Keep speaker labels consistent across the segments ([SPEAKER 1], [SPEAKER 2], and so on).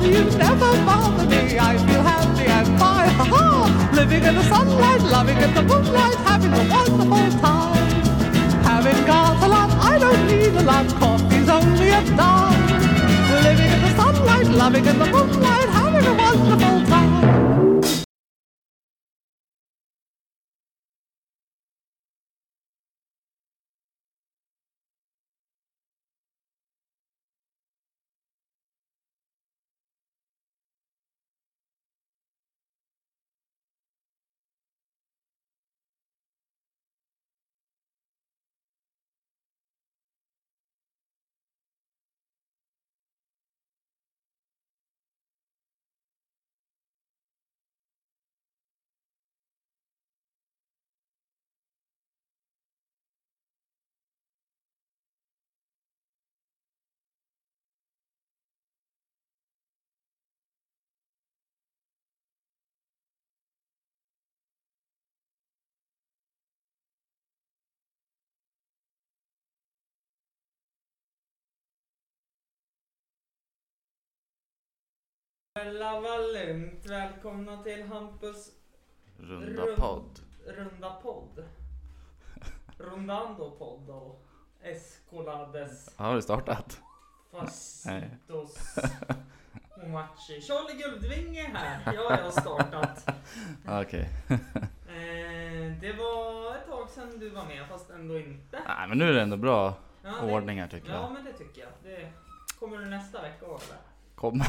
[SPEAKER 1] dreams never bother me. I feel happy and fine. Ha ha! Living in the sunlight, loving in the moonlight, having a wonderful time. Having got a lot, I don't need a lot. Coffee's only a dime. Living in the sunlight, loving in the moonlight, having a wonderful time.
[SPEAKER 2] Lava lugnt, välkomna till Hampus
[SPEAKER 3] Runda
[SPEAKER 2] Rund-
[SPEAKER 3] podd.
[SPEAKER 2] runda podd. Rundando podd och Escolades
[SPEAKER 3] Har du startat? Nej.
[SPEAKER 2] Fascitos Omachi. Charlie Guldvinge här, ja jag har startat.
[SPEAKER 3] Ah, Okej.
[SPEAKER 2] Eh, det var ett tag sedan du var med fast ändå inte.
[SPEAKER 3] Nej men nu är det ändå bra
[SPEAKER 2] Ja, det,
[SPEAKER 3] ordningar tycker
[SPEAKER 2] Ja
[SPEAKER 3] jag.
[SPEAKER 2] men det tycker jag. Det kommer du nästa vecka och eller?
[SPEAKER 3] Kommer.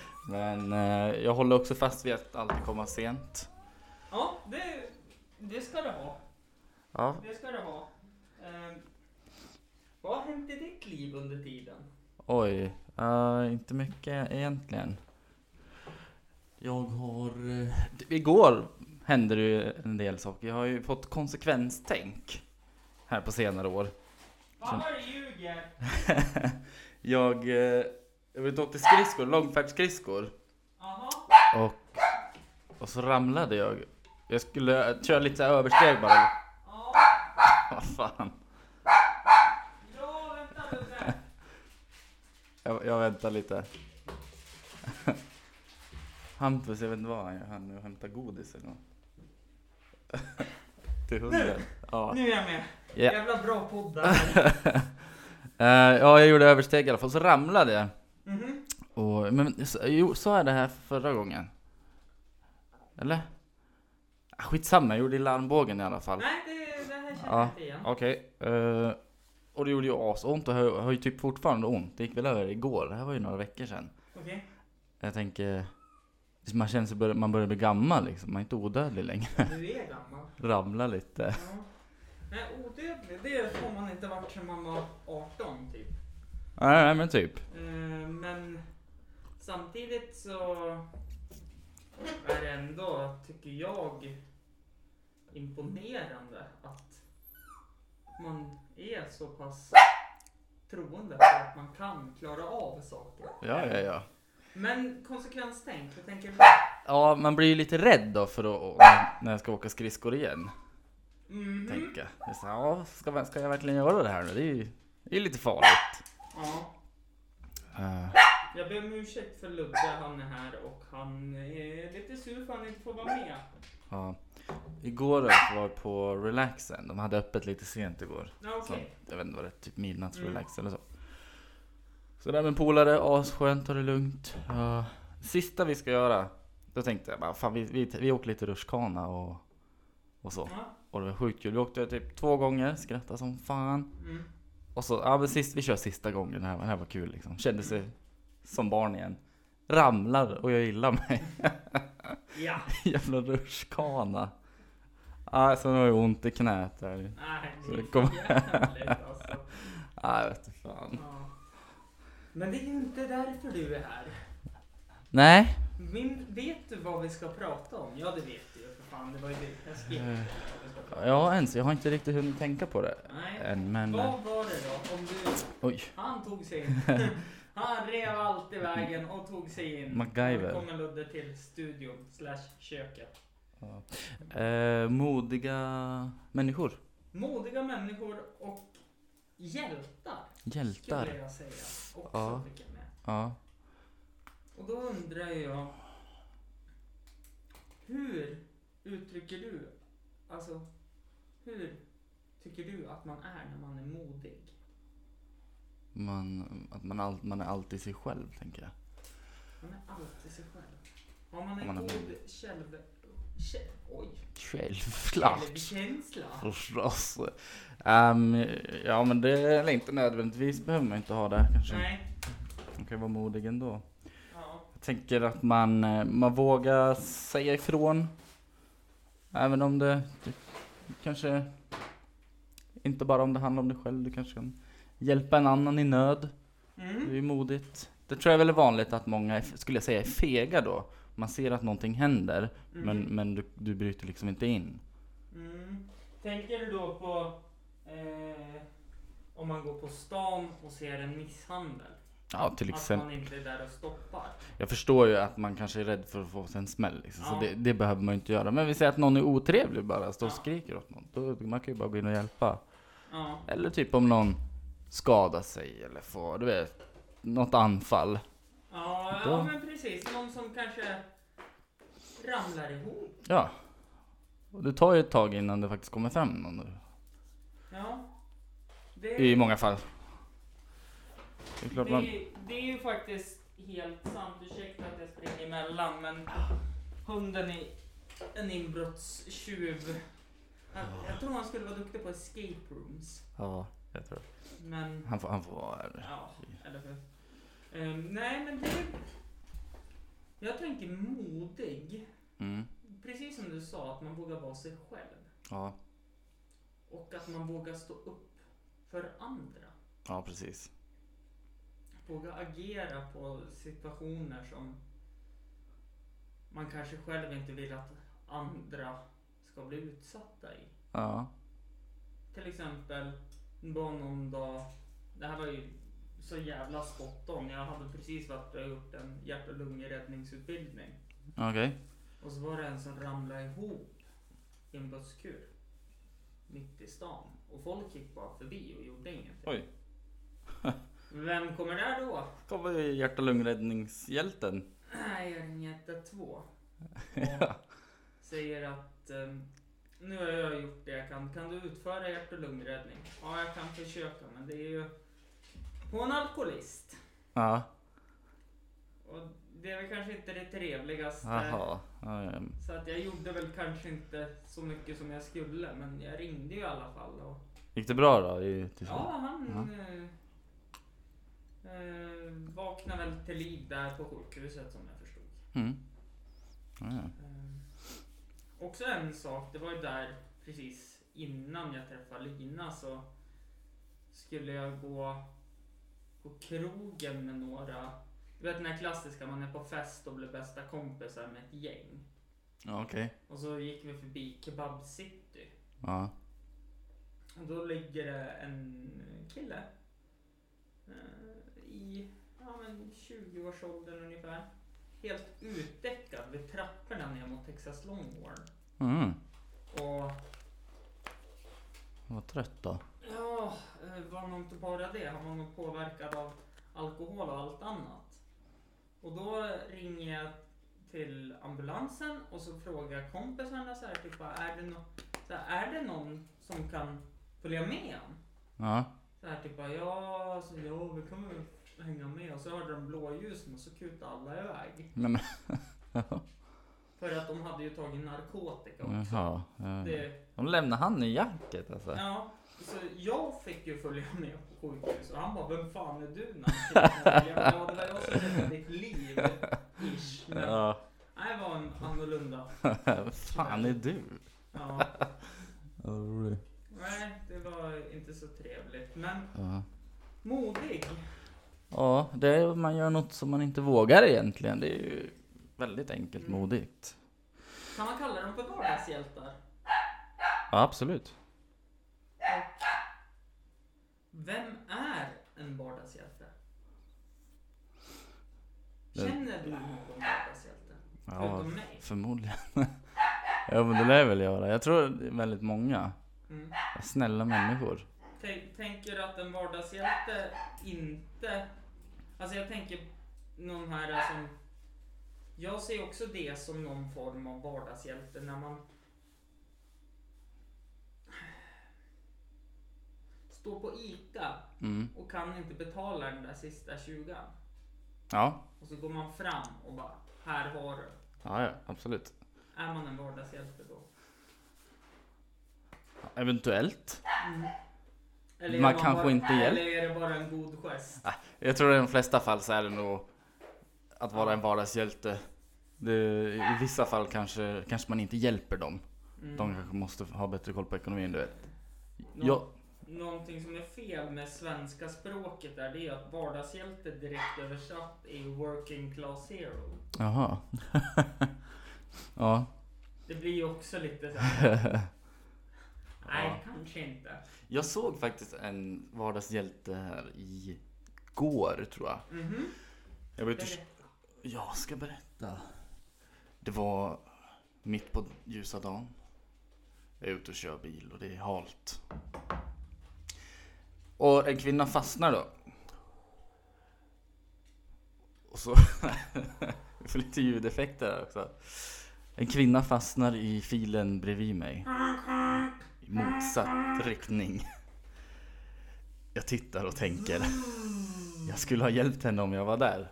[SPEAKER 3] men eh, jag håller också fast vid att alltid komma sent.
[SPEAKER 2] Ja, det, det ska du ha.
[SPEAKER 3] Ja.
[SPEAKER 2] Det ska du ha. Eh, vad har hänt i ditt liv under tiden?
[SPEAKER 3] Oj. eh, inte mycket egentligen. Jag har... eh, d- igår hände det ju en del saker. Jag har ju fått konsekvenstänk här på senare år.
[SPEAKER 2] Pappa ljuger!
[SPEAKER 3] Jag... Eh, jag vet åkte skridskor, långfärdsskridskor.
[SPEAKER 2] Jaha,
[SPEAKER 3] Och, och så ramlade jag. Jag skulle köra lite översteg bara.
[SPEAKER 2] ja.
[SPEAKER 3] Vad fan.
[SPEAKER 2] Ja, vänta Ludde.
[SPEAKER 3] Jag, jag väntar lite. Hampus, jag vet inte vad han gör. Han är och hämtar godis eller något. Till hunden. Ja.
[SPEAKER 2] Nu är jag med.
[SPEAKER 3] Ja.
[SPEAKER 2] Jävla bra podd där.
[SPEAKER 3] Eh, ja, jag gjorde översteg i alla fall. Så ramlade jag.
[SPEAKER 2] Mhm.
[SPEAKER 3] Och, men s- jo, sa jag det här förra gången? Eller? Ah, Skitsamma, jag gjorde i larmbågen i alla fall.
[SPEAKER 2] Nej, det, det här känner
[SPEAKER 3] Ja.
[SPEAKER 2] jag inte igen.
[SPEAKER 3] Okej. eh, och det gjorde ju asont och har, har ju typ fortfarande ont. Det gick väl över igår. Det här var ju några veckor sedan.
[SPEAKER 2] Okej.
[SPEAKER 3] Jag tänker... Man känner sig bör, man börjar bli gammal liksom. Man är inte odödlig längre.
[SPEAKER 2] Du är gammal.
[SPEAKER 3] Ramla lite.
[SPEAKER 2] Ja. Nej, odödlig, det får man inte varit sedan man var 18 typ.
[SPEAKER 3] Nej, nej men typ.
[SPEAKER 2] Eh, Men samtidigt så är det ändå, tycker jag, imponerande att man är så pass troende på att man kan klara av saker.
[SPEAKER 3] Ja, ja, ja.
[SPEAKER 2] Men konsekvenstänk, jag tänker,
[SPEAKER 3] Ja, man blir ju lite rädd då för att, och- när jag ska åka skridskor igen.
[SPEAKER 2] mhm,
[SPEAKER 3] Tänker jag. Det är så här, Ja, ska, man- ska jag verkligen göra det här nu? Det är ju det är ju lite farligt.
[SPEAKER 2] ja.
[SPEAKER 3] Eh,
[SPEAKER 2] Jag ber om ursäkt för Ludde, han är här och han är lite sur för att han inte får vara med.
[SPEAKER 3] ja. Igår var jag på relaxen. De hade öppet lite sent igår.
[SPEAKER 2] Ja,
[SPEAKER 3] Så,
[SPEAKER 2] Okej,
[SPEAKER 3] jag vet inte vad det är, typ midnattsrelax
[SPEAKER 2] Mm.
[SPEAKER 3] eller så. Så där med polare, asskönt, ta det lugnt. Ja, sista vi ska göra, då tänkte jag bara fan vi, vi, vi åker lite rutschkana och, och så.
[SPEAKER 2] ja.
[SPEAKER 3] Och det var sjukt kul. Vi åkte typ två gånger, skrattade som fan.
[SPEAKER 2] Mm.
[SPEAKER 3] Och så, ja men sist, vi kör sista gången, det här, var- det här var kul liksom. Kände sig som barn igen. Ramlar och jag gillar mig.
[SPEAKER 2] ja.
[SPEAKER 3] Jävla rutschkana. Ah, sen har jag ont i knät där.
[SPEAKER 2] Nej,
[SPEAKER 3] Så
[SPEAKER 2] det
[SPEAKER 3] det
[SPEAKER 2] är
[SPEAKER 3] kom-
[SPEAKER 2] för jävligt alltså.
[SPEAKER 3] Ah, jag vet inte fan.
[SPEAKER 2] Ja. Men det är ju inte därför du är här.
[SPEAKER 3] Nej,
[SPEAKER 2] Min, vet du vad vi ska prata om? Ja, det vet du ju för fan. Det var ju det jag skrev.
[SPEAKER 3] Eh,
[SPEAKER 2] vad vi ska prata om.
[SPEAKER 3] Ja, ens. Jag har inte riktigt hunnit tänka på det
[SPEAKER 2] Nej.
[SPEAKER 3] än, men... eh,
[SPEAKER 2] Vad var det då? Om du,
[SPEAKER 3] Oj.
[SPEAKER 2] han tog sig in. Han rev allt i vägen och tog sig in. Nu
[SPEAKER 3] MacGyver.
[SPEAKER 2] kommer Ludde till studion slash köket.
[SPEAKER 3] Eh, modiga människor.
[SPEAKER 2] Modiga människor och hjältar. Skulle
[SPEAKER 3] Hjältar.
[SPEAKER 2] jag säga. Också
[SPEAKER 3] Ja.
[SPEAKER 2] fick jag med.
[SPEAKER 3] Ja.
[SPEAKER 2] Och då undrar jag, hur uttrycker du, alltså hur tycker du att man är när man är modig?
[SPEAKER 3] Man, att man, all, man är alltid sig själv, tänker jag.
[SPEAKER 2] Man är alltid sig själv. Har man en
[SPEAKER 3] Man är
[SPEAKER 2] god
[SPEAKER 3] modig.
[SPEAKER 2] själv... själv oj,
[SPEAKER 3] Självklart.
[SPEAKER 2] självkänsla?
[SPEAKER 3] Förstås. Ehm, ja, men det är väl inte nödvändigtvis behöver man inte ha det kanske.
[SPEAKER 2] Nej.
[SPEAKER 3] Man kan vara modig ändå.
[SPEAKER 2] Ja.
[SPEAKER 3] Jag tänker att man, eh, man vågar säga ifrån. Även om det, det kanske inte bara om det handlar om dig själv. Du kanske kan hjälpa en annan i nöd. Det är
[SPEAKER 2] Mm.
[SPEAKER 3] ju modigt. Det tror jag väl är väldigt vanligt att många, är, skulle jag säga, är fega då. Man ser att någonting händer,
[SPEAKER 2] Mm.
[SPEAKER 3] men, men du, du bryter liksom inte in.
[SPEAKER 2] Mm. Tänker du då på eh, om man går på stan och ser en misshandel?
[SPEAKER 3] Ja, till
[SPEAKER 2] Att
[SPEAKER 3] exempel.
[SPEAKER 2] man inte är där och stoppar?
[SPEAKER 3] Jag förstår ju att man kanske är rädd för att få sig en smäll liksom, så
[SPEAKER 2] Ja.
[SPEAKER 3] det, det behöver man ju inte göra. Men vi säger att någon är otrevlig bara, står och
[SPEAKER 2] Ja.
[SPEAKER 3] skriker åt någon. Då, man kan ju bara gå in och hjälpa.
[SPEAKER 2] Ja.
[SPEAKER 3] Eller typ om någon skadar sig eller får, du vet, något anfall.
[SPEAKER 2] Ja,
[SPEAKER 3] Då-
[SPEAKER 2] ja men precis. Någon som kanske ramlar ihop.
[SPEAKER 3] Ja. Och det tar ju ett tag innan det faktiskt kommer fram någon.
[SPEAKER 2] Ja. Det,
[SPEAKER 3] I många fall. Det är klart man...
[SPEAKER 2] det, det är ju faktiskt helt sant. Ursäkta att jag springer emellan men hunden är en inbrottstjuv. Jag, jag tror han skulle vara duktig på escape rooms.
[SPEAKER 3] Ja, jag tror det.
[SPEAKER 2] Men
[SPEAKER 3] Han får, han får vara här.
[SPEAKER 2] Ja, eller hur? Ehm, nej, men det... Jag tänker modig.
[SPEAKER 3] Mm.
[SPEAKER 2] Precis som du sa, att man vågar vara sig själv.
[SPEAKER 3] Ja,
[SPEAKER 2] Och att man vågar stå upp för andra.
[SPEAKER 3] ja precis.
[SPEAKER 2] Våga agera på situationer som man kanske själv inte vill att andra ska bli utsatta i.
[SPEAKER 3] Ja.
[SPEAKER 2] Till exempel, det var någon dag, det här var ju så jävla spot on. Jag hade precis varit och gjort en hjärt och lungräddningsutbildning.
[SPEAKER 3] Okej.
[SPEAKER 2] Och så var det en som ramlade ihop i en busskur. Mitt i stan. Och folk gick bara förbi och gjorde ingenting.
[SPEAKER 3] Oj.
[SPEAKER 2] Vem kommer där då?
[SPEAKER 3] Kommer ju hjärt och lungräddningshjälten.
[SPEAKER 2] Nej, Ringetta 2.
[SPEAKER 3] Ja.
[SPEAKER 2] Säger att ehm, nu har jag gjort det jag kan. Kan du utföra hjärt och lungräddning? Ja, jag kan försöka, men det är ju på en alkoholist.
[SPEAKER 3] Ja.
[SPEAKER 2] Och det är väl kanske inte det trevligaste.
[SPEAKER 3] Jaha. Ja, ja.
[SPEAKER 2] Så att jag gjorde väl kanske inte så mycket som jag skulle, men jag ringde ju i alla fall. Och
[SPEAKER 3] Gick det bra då? I, till slut?
[SPEAKER 2] Ja, han eh, eh, vaknade väl till liv där på sjukhuset som jag förstod.
[SPEAKER 3] Mm. Ja, ja.
[SPEAKER 2] Eh, också en sak, det var ju där precis innan jag träffade Lina så skulle jag gå på krogen med några. Du vet den här klassiska, man är på fest och blir bästa kompisar med ett gäng.
[SPEAKER 3] ja okej.
[SPEAKER 2] Och så gick vi förbi Kebab City.
[SPEAKER 3] Ja.
[SPEAKER 2] Och då ligger det en kille eh, i ja, men 20-årsåldern ungefär. Helt utdäckad vid trapporna ner mot Texas Longhorn.
[SPEAKER 3] Mm.
[SPEAKER 2] Och
[SPEAKER 3] Vad trött då.
[SPEAKER 2] ja, eh, var nog inte bara det. Han var nog påverkad av alkohol och allt annat. Och då ringer jag till ambulansen och så frågar jag kompisarna så här, typ, bara, är, det nå så här, är det någon som kan följa med honom?
[SPEAKER 3] Ja.
[SPEAKER 2] Så här typ bara, ja, alltså, ja, vi kommer väl hänga med. Och så hörde de blåljusen och så kutade alla iväg.
[SPEAKER 3] Nej, men...
[SPEAKER 2] För att de hade ju tagit narkotika också.
[SPEAKER 3] Jaha. Ja.
[SPEAKER 2] Det,
[SPEAKER 3] De lämnar han i jacket alltså.
[SPEAKER 2] ja, så jag fick ju följa med på sjukhus och han bara, vem fan är du? när han fick följa med?" Ja, det var jag som räddade ditt liv. Ish. Men
[SPEAKER 3] Ja.
[SPEAKER 2] nej, det var en annorlunda.
[SPEAKER 3] Vad fan är du?
[SPEAKER 2] Ja,
[SPEAKER 3] Ja, vad roligt.
[SPEAKER 2] nej, det var inte så trevligt. Men
[SPEAKER 3] Ja.
[SPEAKER 2] modig.
[SPEAKER 3] Ja, det är, man gör något som man inte vågar egentligen. Det är ju väldigt enkelt
[SPEAKER 2] Mm.
[SPEAKER 3] modigt.
[SPEAKER 2] Kan man kalla dem för vardagshjältar?
[SPEAKER 3] Ja, absolut.
[SPEAKER 2] Vem är en vardagshjälte?
[SPEAKER 3] Det-
[SPEAKER 2] Känner du någon vardagshjälte?
[SPEAKER 3] Ja,
[SPEAKER 2] Förutom mig?
[SPEAKER 3] förmodligen. ja, men det lär jag väl göra. Jag tror det är väldigt många
[SPEAKER 2] Mm.
[SPEAKER 3] snälla människor.
[SPEAKER 2] Tänk, tänker du att en vardagshjälte inte... Alltså jag tänker någon här som Jag ser också det som någon form av vardagshjälte när man står på ICA
[SPEAKER 3] Mm.
[SPEAKER 2] och kan inte betala den där sista 20
[SPEAKER 3] Ja.
[SPEAKER 2] Och så går man fram och bara, här har du.
[SPEAKER 3] ja, ja, absolut.
[SPEAKER 2] Är man en vardagshjälte då?
[SPEAKER 3] Eventuellt.
[SPEAKER 2] är
[SPEAKER 3] Man
[SPEAKER 2] man
[SPEAKER 3] kanske
[SPEAKER 2] bara,
[SPEAKER 3] inte hjälper.
[SPEAKER 2] Eller är det bara en god gest?
[SPEAKER 3] Jag tror i de flesta fall så är det nog att vara en vardagshjälte. Det, I vissa fall kanske, kanske man inte hjälper dem.
[SPEAKER 2] Mm.
[SPEAKER 3] De kanske måste ha bättre koll på ekonomin, du vet.
[SPEAKER 2] Nå-
[SPEAKER 3] Ja,
[SPEAKER 2] Någonting som är fel med svenska språket där, det är att vardagshjälte direkt översatt är ju working class hero.
[SPEAKER 3] jaha. ja.
[SPEAKER 2] Det blir ju också lite så här. Nej, kanske inte.
[SPEAKER 3] Jag såg faktiskt en vardagshjälte här igår, tror jag.
[SPEAKER 2] Mhm.
[SPEAKER 3] Jag var ute och Jag ska berätta. Det var mitt på ljusa dagen. Jag är ute och kör bil och det är halt. Och en kvinna fastnar då. Och så... Vi får lite ljudeffekter här också. En kvinna fastnar i filen bredvid mig. I motsatt riktning. Jag tittar och tänker. Jag skulle ha hjälpt henne om jag var där.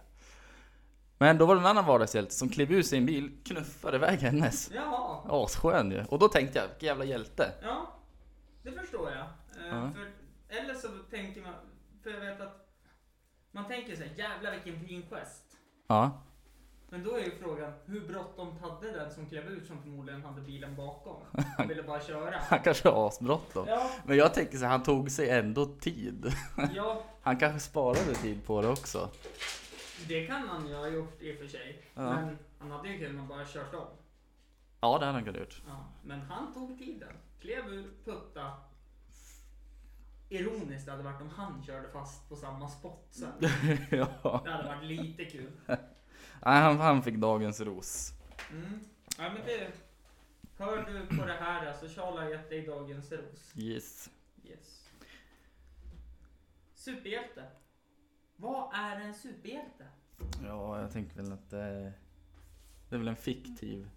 [SPEAKER 3] Men då var det en annan vardagshjälte som klev ur sin bil, knuffade iväg hennes.
[SPEAKER 2] Jaha,
[SPEAKER 3] Asskön ju. Och då tänkte jag, vilken jävla hjälte.
[SPEAKER 2] ja. Det förstår jag. Eh,
[SPEAKER 3] Ja.
[SPEAKER 2] För, eller så tänker man, för jag vet att man tänker så här, jävlar vilken fin gest.
[SPEAKER 3] Ja.
[SPEAKER 2] Men då är ju frågan, hur bråttom hade den som klev ut som förmodligen hade bilen bakom? Han ville bara köra.
[SPEAKER 3] Han kanske har asbråttom.
[SPEAKER 2] Ja,
[SPEAKER 3] Men jag tänker så här, han tog sig ändå tid.
[SPEAKER 2] ja,
[SPEAKER 3] Han kanske sparade tid på det också.
[SPEAKER 2] det kan han ju ha gjort i och för sig.
[SPEAKER 3] Ja.
[SPEAKER 2] Men han hade ju kunnat bara kört om.
[SPEAKER 3] Ja, det hade han kunnat gjort.
[SPEAKER 2] Ja, men han tog tiden. Klev ur, putta. Ironiskt hade varit om han körde fast på samma spot sen.
[SPEAKER 3] ja.
[SPEAKER 2] Det hade varit lite kul.
[SPEAKER 3] Nej, han, han fick dagens ros.
[SPEAKER 2] Mm. Ja, men det, hör du på det här så alltså, Charles har gett dig dagens ros.
[SPEAKER 3] Yes.
[SPEAKER 2] Yes. Superhjälte. Vad är en superhjälte?
[SPEAKER 3] Ja, jag tänker väl att det, det är väl en fiktiv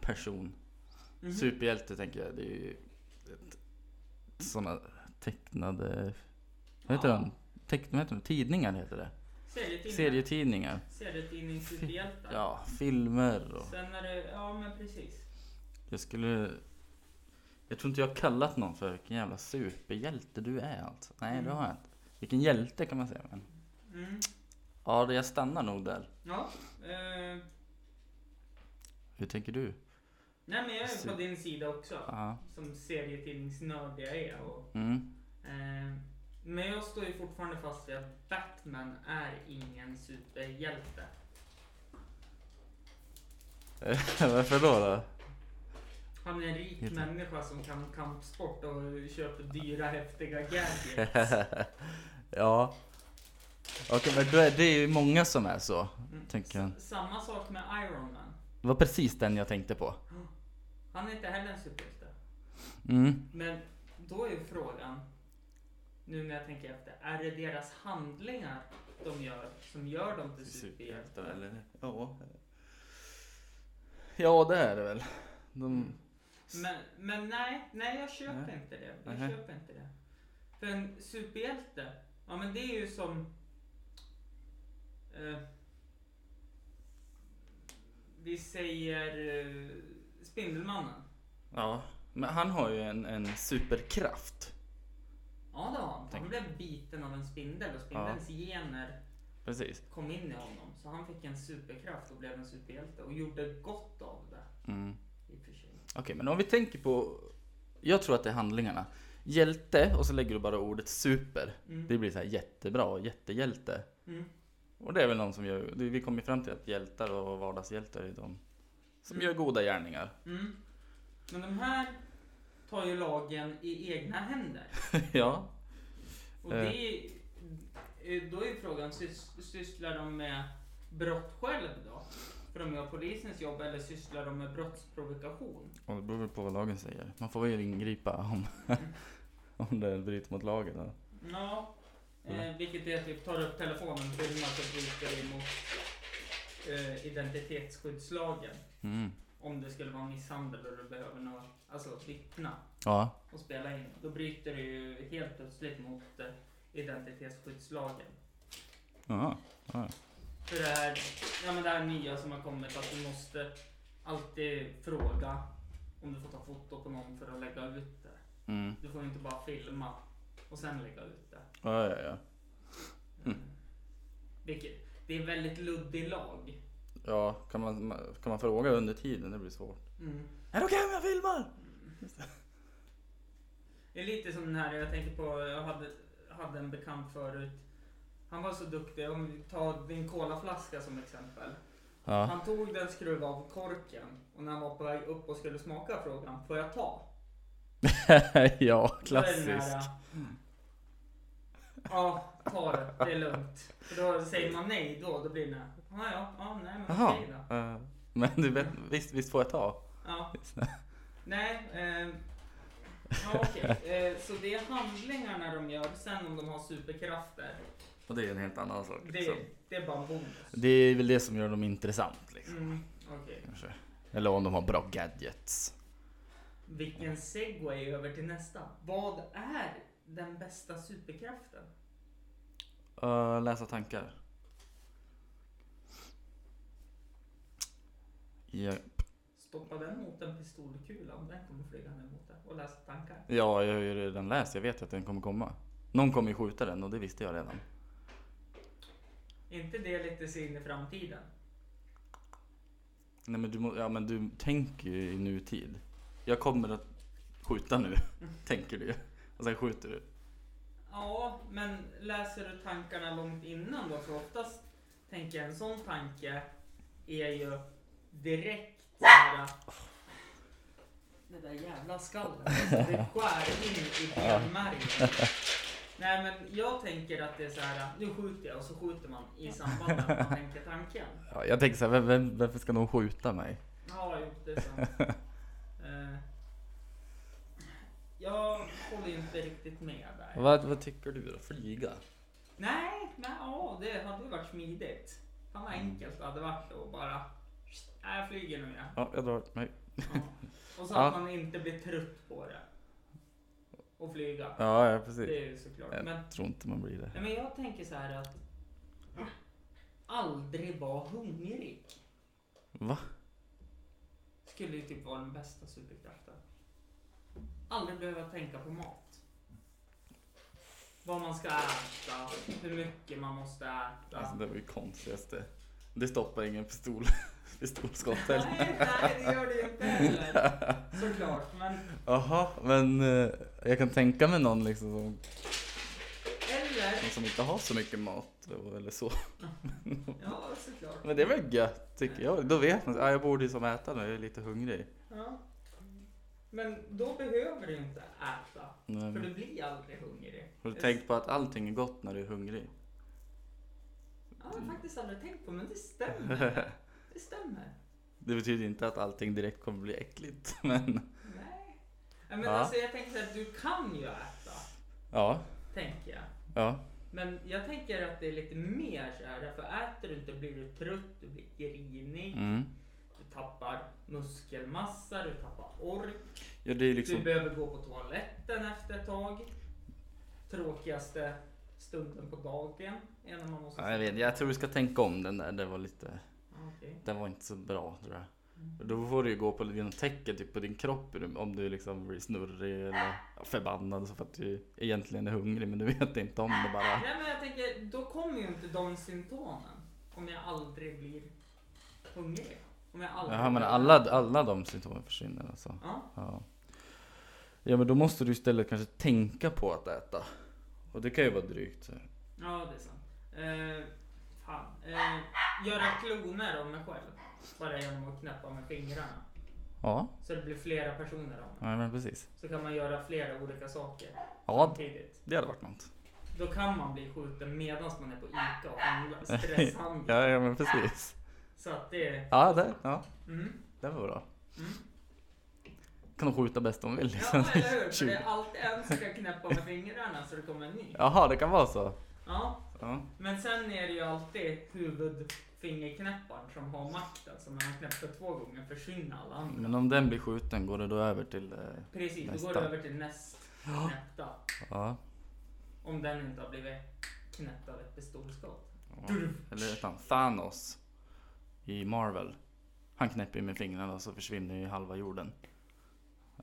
[SPEAKER 3] person.
[SPEAKER 2] Mhm.
[SPEAKER 3] Superhjälte tänker jag, det är ju sådana tecknade, vad heter
[SPEAKER 2] Ja.
[SPEAKER 3] de? Teck, vad heter de? Tidningar heter det.
[SPEAKER 2] Serietidningar.
[SPEAKER 3] Serietidningar.
[SPEAKER 2] Serietidningssuperhjältar.
[SPEAKER 3] Ja, filmer och...
[SPEAKER 2] Sen är det, ja men precis.
[SPEAKER 3] Jag skulle... Jag tror inte jag har kallat någon för vilken jävla superhjälte du är alltså. Nej, det
[SPEAKER 2] Mm.
[SPEAKER 3] har jag inte. Vilken hjälte kan man säga. Men...
[SPEAKER 2] Mm.
[SPEAKER 3] Ja, det- jag stannar nog där.
[SPEAKER 2] Ja. Eh,
[SPEAKER 3] Hur tänker du?
[SPEAKER 2] nej men jag är
[SPEAKER 3] Super-
[SPEAKER 2] på din sida också.
[SPEAKER 3] Ja.
[SPEAKER 2] som serietidningsnörd jag är. Och,
[SPEAKER 3] Mm.
[SPEAKER 2] eh, men jag står ju fortfarande fast vid att Batman är ingen superhjälte.
[SPEAKER 3] Varför då? då?
[SPEAKER 2] Han är en rik
[SPEAKER 3] Helt-
[SPEAKER 2] människa som kan kampsport och köper dyra häftiga gadgets.
[SPEAKER 3] ja. Okej, men då är det är ju många som är så.
[SPEAKER 2] Mm.
[SPEAKER 3] Tänker jag.
[SPEAKER 2] S- Samma sak med Iron Man.
[SPEAKER 3] Det var precis den jag tänkte på.
[SPEAKER 2] Han är inte heller en superhjälte.
[SPEAKER 3] Mm.
[SPEAKER 2] Men då är ju frågan, nu när jag tänker efter, är det deras handlingar de gör som gör dem till superhjältar?
[SPEAKER 3] eller? Ja. Ja, det är det väl. De...
[SPEAKER 2] Men, men nej, nej jag köper
[SPEAKER 3] Nej.
[SPEAKER 2] inte det. Jag
[SPEAKER 3] Nähä.
[SPEAKER 2] köper inte det. För en superhjälte, ja men det är ju som... Eh, vi säger eh, Spindelmannen.
[SPEAKER 3] Ja. Men han har ju en, en superkraft.
[SPEAKER 2] Ja det har han.
[SPEAKER 3] Tänk.
[SPEAKER 2] Han blev biten av en spindel och spindelns gener
[SPEAKER 3] Precis.
[SPEAKER 2] kom in i honom. Så han fick en superkraft och blev en superhjälte och gjorde gott av det.
[SPEAKER 3] Mm.
[SPEAKER 2] I och för sig.
[SPEAKER 3] Okej, men om vi tänker på... Jag tror att det är handlingarna. Hjälte, och så lägger du bara ordet super.
[SPEAKER 2] Mm.
[SPEAKER 3] Det blir så här jättebra, och jättehjälte.
[SPEAKER 2] Mm.
[SPEAKER 3] Och det är väl någon som gör... det- Vi kommer fram till att hjältar och vardagshjältar är de som gör goda gärningar.
[SPEAKER 2] Mm. Men de här tar ju lagen i egna händer.
[SPEAKER 3] ja.
[SPEAKER 2] Och det är, eh, då är ju frågan, sys- sysslar de med brott själv då? För de gör polisens jobb eller sysslar de med brottsprovokation?
[SPEAKER 3] Och det beror väl på vad lagen säger. Man får väl ingripa om, om det bryter mot lagen. ja.
[SPEAKER 2] Ja, eh, vilket är typ tar upp telefonen, filmar och bryter emot eh, identitetsskyddslagen.
[SPEAKER 3] Mm.
[SPEAKER 2] Om det skulle vara misshandel och du behöver nå, alltså vittna
[SPEAKER 3] Ja.
[SPEAKER 2] och spela in. Då bryter du ju helt plötsligt mot eh, identitetsskyddslagen.
[SPEAKER 3] Ja.
[SPEAKER 2] För det här, ja, men det här nya som har kommit att du måste alltid fråga om du får ta foto på någon för att lägga ut det.
[SPEAKER 3] Mm.
[SPEAKER 2] Du får ju inte bara filma och sen lägga ut det.
[SPEAKER 3] Ja, ja, ja. Mm.
[SPEAKER 2] Vilket, det är en väldigt luddig lag.
[SPEAKER 3] Ja, kan man, kan man fråga under tiden? Det blir svårt.
[SPEAKER 2] Mm.
[SPEAKER 3] Är det okej om jag filmar?
[SPEAKER 2] Det är lite som den här, jag tänker på, jag hade, hade en bekant förut. Han var så duktig, om vi tar din colaflaska som exempel.
[SPEAKER 3] Ja.
[SPEAKER 2] Han tog den, skruvade av korken och när han var på väg upp och skulle smaka frågade han, får jag ta?
[SPEAKER 3] ja,
[SPEAKER 2] Då är det den här, eh,
[SPEAKER 3] klassisk.
[SPEAKER 2] Ja, ta det, det är lugnt. För då säger man nej då, då blir det nej. Ja, ja, ja, nej men
[SPEAKER 3] Jaha.
[SPEAKER 2] okej då.
[SPEAKER 3] Eh, Men du vet, visst, visst får jag ta?
[SPEAKER 2] Ja. Nej. Eh, ja, okej. Eh, så det är handlingarna de gör. Sen om de har superkrafter,
[SPEAKER 3] Och det är en helt annan sak. liksom.
[SPEAKER 2] det, det är bara en bonus.
[SPEAKER 3] det är väl det som gör dem intressant. Liksom,
[SPEAKER 2] Mm, okej.
[SPEAKER 3] kanske. Eller om de har bra gadgets.
[SPEAKER 2] Vilken segway över till nästa. Vad är den bästa superkraften?
[SPEAKER 3] Eh, läsa tankar. Ja,
[SPEAKER 2] Stoppa den mot en pistolkula om den kommer flygande mot dig och läsa tankar.
[SPEAKER 3] ja, jag har ju redan läst. Jag vet ju att den kommer komma. Någon kommer ju skjuta den och det visste jag redan.
[SPEAKER 2] Är inte det lite se in i framtiden?
[SPEAKER 3] Nej men du, må- ja, men du tänker ju i nutid. Jag kommer att skjuta nu, tänker du ju. Och sen skjuter du.
[SPEAKER 2] Ja, men läser du tankarna långt innan då? För oftast tänker jag en sån tanke är ju direkt så här, Det där jävla skallet. alltså, Det skär in i benmärgen. Nej men jag tänker att det är så här. nu skjuter jag och så skjuter man i samband med att man tänker tanken.
[SPEAKER 3] Ja, jag tänker så här, vem, vem, varför ska någon skjuta mig?
[SPEAKER 2] Ja, jo, det är sant. Eh, jag håller ju inte riktigt med där.
[SPEAKER 3] Vad, vad tycker du då? Flyga?
[SPEAKER 2] Nej, nej, ja, det hade ju varit smidigt. Fan
[SPEAKER 3] Mm.
[SPEAKER 2] vad enkelt det hade varit att bara... Nej, jag flyger nu jag.
[SPEAKER 3] Ja, jag drar. Nej.
[SPEAKER 2] Ja. Och så
[SPEAKER 3] Ja.
[SPEAKER 2] att man inte blir trött på det. Och flyga.
[SPEAKER 3] Ja, ja precis.
[SPEAKER 2] Det är ju såklart.
[SPEAKER 3] Ja.
[SPEAKER 2] Men,
[SPEAKER 3] Jag tror inte man blir det.
[SPEAKER 2] nej, men jag tänker så här att... Aldrig vara hungrig.
[SPEAKER 3] Va?
[SPEAKER 2] Skulle ju typ vara den bästa superkraften. Aldrig behöva tänka på mat. Vad man ska äta, hur mycket man måste äta.
[SPEAKER 3] Alltså, det var ju konstigaste. Det stoppar ingen pistol, pistolskott heller.
[SPEAKER 2] Nej, nej, det gör det ju inte heller. Såklart, men
[SPEAKER 3] Jaha, men eh, jag kan tänka mig någon liksom som,
[SPEAKER 2] eller.
[SPEAKER 3] som inte har så mycket mat eller så.
[SPEAKER 2] Ja, såklart.
[SPEAKER 3] Men det är väl gött tycker jag. Då vet man, ja, jag borde ju som äta nu, jag är lite hungrig.
[SPEAKER 2] Ja. Men då behöver du inte äta,
[SPEAKER 3] Nej,
[SPEAKER 2] för
[SPEAKER 3] men-
[SPEAKER 2] du blir aldrig hungrig.
[SPEAKER 3] Har du tänkt på att allting är gott när du är hungrig?
[SPEAKER 2] Ja, jag har faktiskt aldrig tänkt på, men det stämmer. Det stämmer.
[SPEAKER 3] Det betyder inte att allting direkt kommer bli äckligt, men
[SPEAKER 2] Nej. Ja, Men
[SPEAKER 3] Ja.
[SPEAKER 2] alltså, jag tänker så här, du kan ju äta,
[SPEAKER 3] ja,
[SPEAKER 2] tänker jag.
[SPEAKER 3] ja,
[SPEAKER 2] Men jag tänker att det är lite mer så här, för äter du inte blir du trött, du blir grinig,
[SPEAKER 3] mm.
[SPEAKER 2] du tappar muskelmassa, du tappar ork.
[SPEAKER 3] Ja, det är
[SPEAKER 2] Du
[SPEAKER 3] liksom,
[SPEAKER 2] behöver gå på toaletten efter ett tag. Tråkigaste stunden på dagen. är när man måste
[SPEAKER 3] ja, jag vet, jag tror du ska tänka om den där, det var lite,
[SPEAKER 2] Ja, okej.
[SPEAKER 3] den var inte så bra tror jag. Och Då får du ju gå på dina tecken typ på din kropp om du liksom blir snurrig eller förbannad så för att du egentligen är hungrig men du vet inte om det bara.
[SPEAKER 2] Nej men jag tänker, då kommer ju inte de symptomen. Om jag aldrig blir hungrig. Om jag aldrig...
[SPEAKER 3] Jaha men alla, alla de symptomen försvinner alltså.
[SPEAKER 2] Ja.
[SPEAKER 3] Ja. ja men då måste du istället kanske tänka på att äta. Och det kan ju vara drygt. så här.
[SPEAKER 2] ja, det är sant. Eh, fan. Eh, göra kloner av mig själv. Bara genom att knäppa med fingrarna.
[SPEAKER 3] Ja,
[SPEAKER 2] Så det blir flera personer av mig.
[SPEAKER 3] ja men precis.
[SPEAKER 2] Så kan man göra flera olika saker
[SPEAKER 3] Ja,
[SPEAKER 2] samtidigt.
[SPEAKER 3] det hade varit något.
[SPEAKER 2] Då kan man bli skjuten medan man är på ICA och handlar stresshandlar.
[SPEAKER 3] Ja, ja men precis.
[SPEAKER 2] Så att det...
[SPEAKER 3] Ja, det, ja,
[SPEAKER 2] Mm.
[SPEAKER 3] det var bra.
[SPEAKER 2] Mm.
[SPEAKER 3] Kan de skjuta bäst de vill liksom.
[SPEAKER 2] Ja, eller hur? För det
[SPEAKER 3] 20.
[SPEAKER 2] är alltid en som ska knäppa med fingrarna så det kommer en ny.
[SPEAKER 3] Jaha, det kan vara så.
[SPEAKER 2] Ja,
[SPEAKER 3] Ja.
[SPEAKER 2] men Men sen är det ju alltid huvudfingerknäpparen som har makten. Så när han knäpper två gånger försvinner alla andra.
[SPEAKER 3] Men om den blir skjuten går det då över till... eh,
[SPEAKER 2] Precis, då går det
[SPEAKER 3] Nästa.
[SPEAKER 2] över till nästknäppta.
[SPEAKER 3] Ja.
[SPEAKER 2] Om den inte har blivit knäppt av ett pistolskott.
[SPEAKER 3] ja. Eller vet han, Thanos i Marvel. Han knäpper ju med fingrarna och så försvinner ju halva jorden.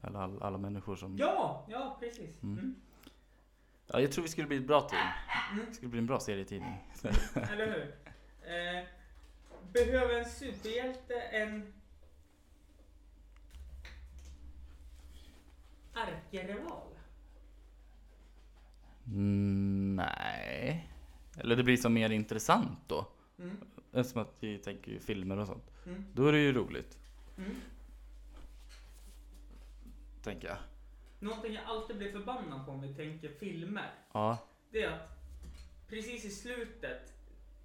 [SPEAKER 3] Eller all, alla människor som...
[SPEAKER 2] Ja, ja precis.
[SPEAKER 3] Mm.
[SPEAKER 2] Mm.
[SPEAKER 3] Ja, jag tror vi skulle bli ett bra team.
[SPEAKER 2] Mm.
[SPEAKER 3] Det skulle bli en bra serietidning.
[SPEAKER 2] Eller hur? Eh, behöver en superhjälte en ärkerival?
[SPEAKER 3] Mm, nej. Eller det blir så mer intressant då.
[SPEAKER 2] Mm.
[SPEAKER 3] Eftersom att vi tänker ju filmer och sånt.
[SPEAKER 2] Mm.
[SPEAKER 3] Då är det ju roligt,
[SPEAKER 2] Mm.
[SPEAKER 3] tänker jag.
[SPEAKER 2] Någonting jag alltid blir förbannad på om vi tänker filmer.
[SPEAKER 3] Ja.
[SPEAKER 2] Det är att precis i slutet,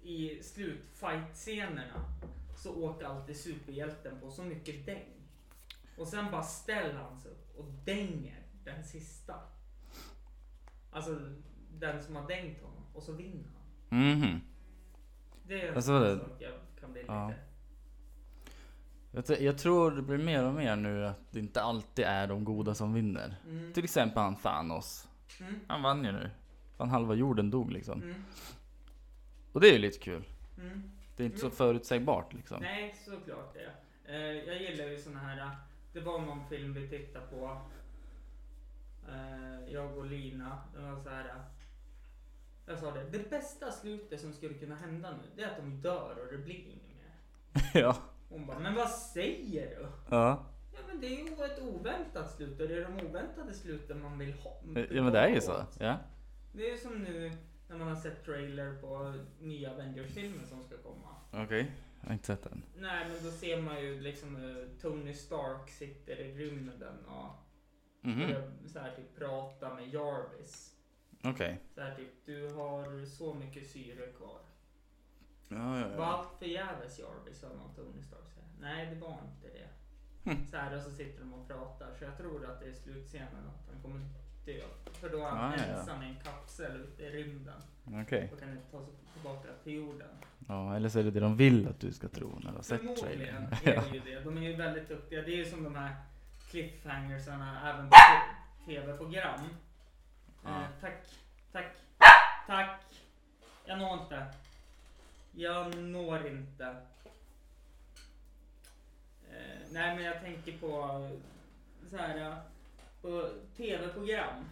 [SPEAKER 2] i slutfight-scenerna, så åker alltid superhjälten på så mycket däng. Och sen bara ställer han sig upp och dänger den sista. Alltså den som har dängt honom och så vinner han.
[SPEAKER 3] Mhm.
[SPEAKER 2] Det är
[SPEAKER 3] Alltså, det-
[SPEAKER 2] en sak jag kan bli
[SPEAKER 3] Ja.
[SPEAKER 2] lite...
[SPEAKER 3] Jag, t- jag tror det blir mer och mer nu att det inte alltid är de goda som vinner.
[SPEAKER 2] Mm,
[SPEAKER 3] Till exempel han Thanos.
[SPEAKER 2] mm,
[SPEAKER 3] Han vann ju nu. Fan halva jorden dog liksom.
[SPEAKER 2] mm,
[SPEAKER 3] Och det är ju lite kul.
[SPEAKER 2] mm.
[SPEAKER 3] Det är inte så förutsägbart liksom.
[SPEAKER 2] Nej, såklart det. Eh, jag gillar ju såna här... eh, Det var någon film vi tittade på. eh, jag och Lina. Det var så här... eh, Jag sa det. Det bästa slutet som skulle kunna hända nu, det är att de dör och det blir inget mer.
[SPEAKER 3] ja.
[SPEAKER 2] Hon bara, men vad säger du?
[SPEAKER 3] Ja.
[SPEAKER 2] Ja men det är ju ett oväntat slut och det är de oväntade sluten man vill ha.
[SPEAKER 3] ja, men det är ju så. Ja.
[SPEAKER 2] Det är ju som nu när man har sett trailer på nya Avengers-filmen som ska komma.
[SPEAKER 3] Okej. Jag har inte sett den.
[SPEAKER 2] Nej, men då ser man ju liksom hur Tony Stark sitter i rymden och
[SPEAKER 3] Mhm.
[SPEAKER 2] börjar så här typ prata med Jarvis.
[SPEAKER 3] Okej.
[SPEAKER 2] Så här typ, du har så mycket syre kvar.
[SPEAKER 3] Ja, ja,
[SPEAKER 2] Var
[SPEAKER 3] ja.
[SPEAKER 2] allt förgäves Jarvis, hör man Tony Stark säga. Nej, det var inte det.
[SPEAKER 3] Hm.
[SPEAKER 2] Så här, och så sitter de och pratar. Så jag tror att det är slutscenen att han kommer dö. För då är han
[SPEAKER 3] Ah, ja, ja.
[SPEAKER 2] ensam i en kapsel ute i rymden
[SPEAKER 3] Okej.
[SPEAKER 2] och kan inte ta sig tillbaka till jorden.
[SPEAKER 3] Ja, eller så är det det de vill att du ska tro när du har sett
[SPEAKER 2] Förmodligen
[SPEAKER 3] trailern.
[SPEAKER 2] är det ju det. De är ju väldigt duktiga. Det är ju som de här cliffhangersarna även på tv-program.
[SPEAKER 3] Ja.
[SPEAKER 2] Eh, tack, tack, tack. Jag når inte. Jag når inte. Eh, nej, men jag tänker på eh, så här eh, på tv-program.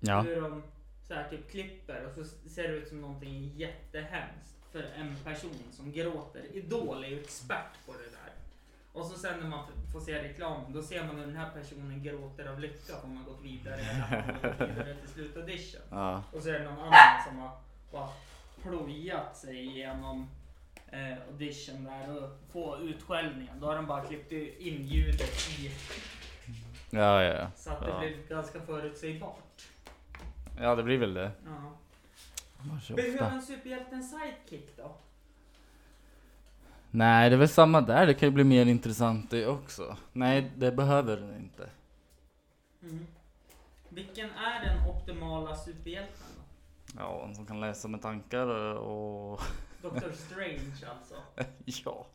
[SPEAKER 3] Ja.
[SPEAKER 2] Hur de så här typ klipper och så ser det ut som någonting jättehemskt för en person som gråter. Idol är ju expert på det där. Och så sen när man f- får se reklam, då ser man hur den här personen gråter av lycka om man gått vidare eller har gått vidare till slutaudition.
[SPEAKER 3] Ja.
[SPEAKER 2] Och så är det någon annan som har bara plojat sig igenom eh, audition där och få utskällningen. Då har de bara klippt in ljudet i
[SPEAKER 3] Ja, ja, ja.
[SPEAKER 2] så att det
[SPEAKER 3] Ja.
[SPEAKER 2] blir ganska förutsägbart.
[SPEAKER 3] Ja, det blir väl det.
[SPEAKER 2] Ja.
[SPEAKER 3] Man kör
[SPEAKER 2] Behöver
[SPEAKER 3] ofta.
[SPEAKER 2] en superhjälte en sidekick då?
[SPEAKER 3] Nej, det är väl samma där. Det kan ju bli mer intressant det också. Nej, det behöver den inte.
[SPEAKER 2] Mm. Vilken är den optimala superhjälten då?
[SPEAKER 3] Ja, en som kan läsa med tankar och...
[SPEAKER 2] Doctor Strange alltså.
[SPEAKER 3] ja,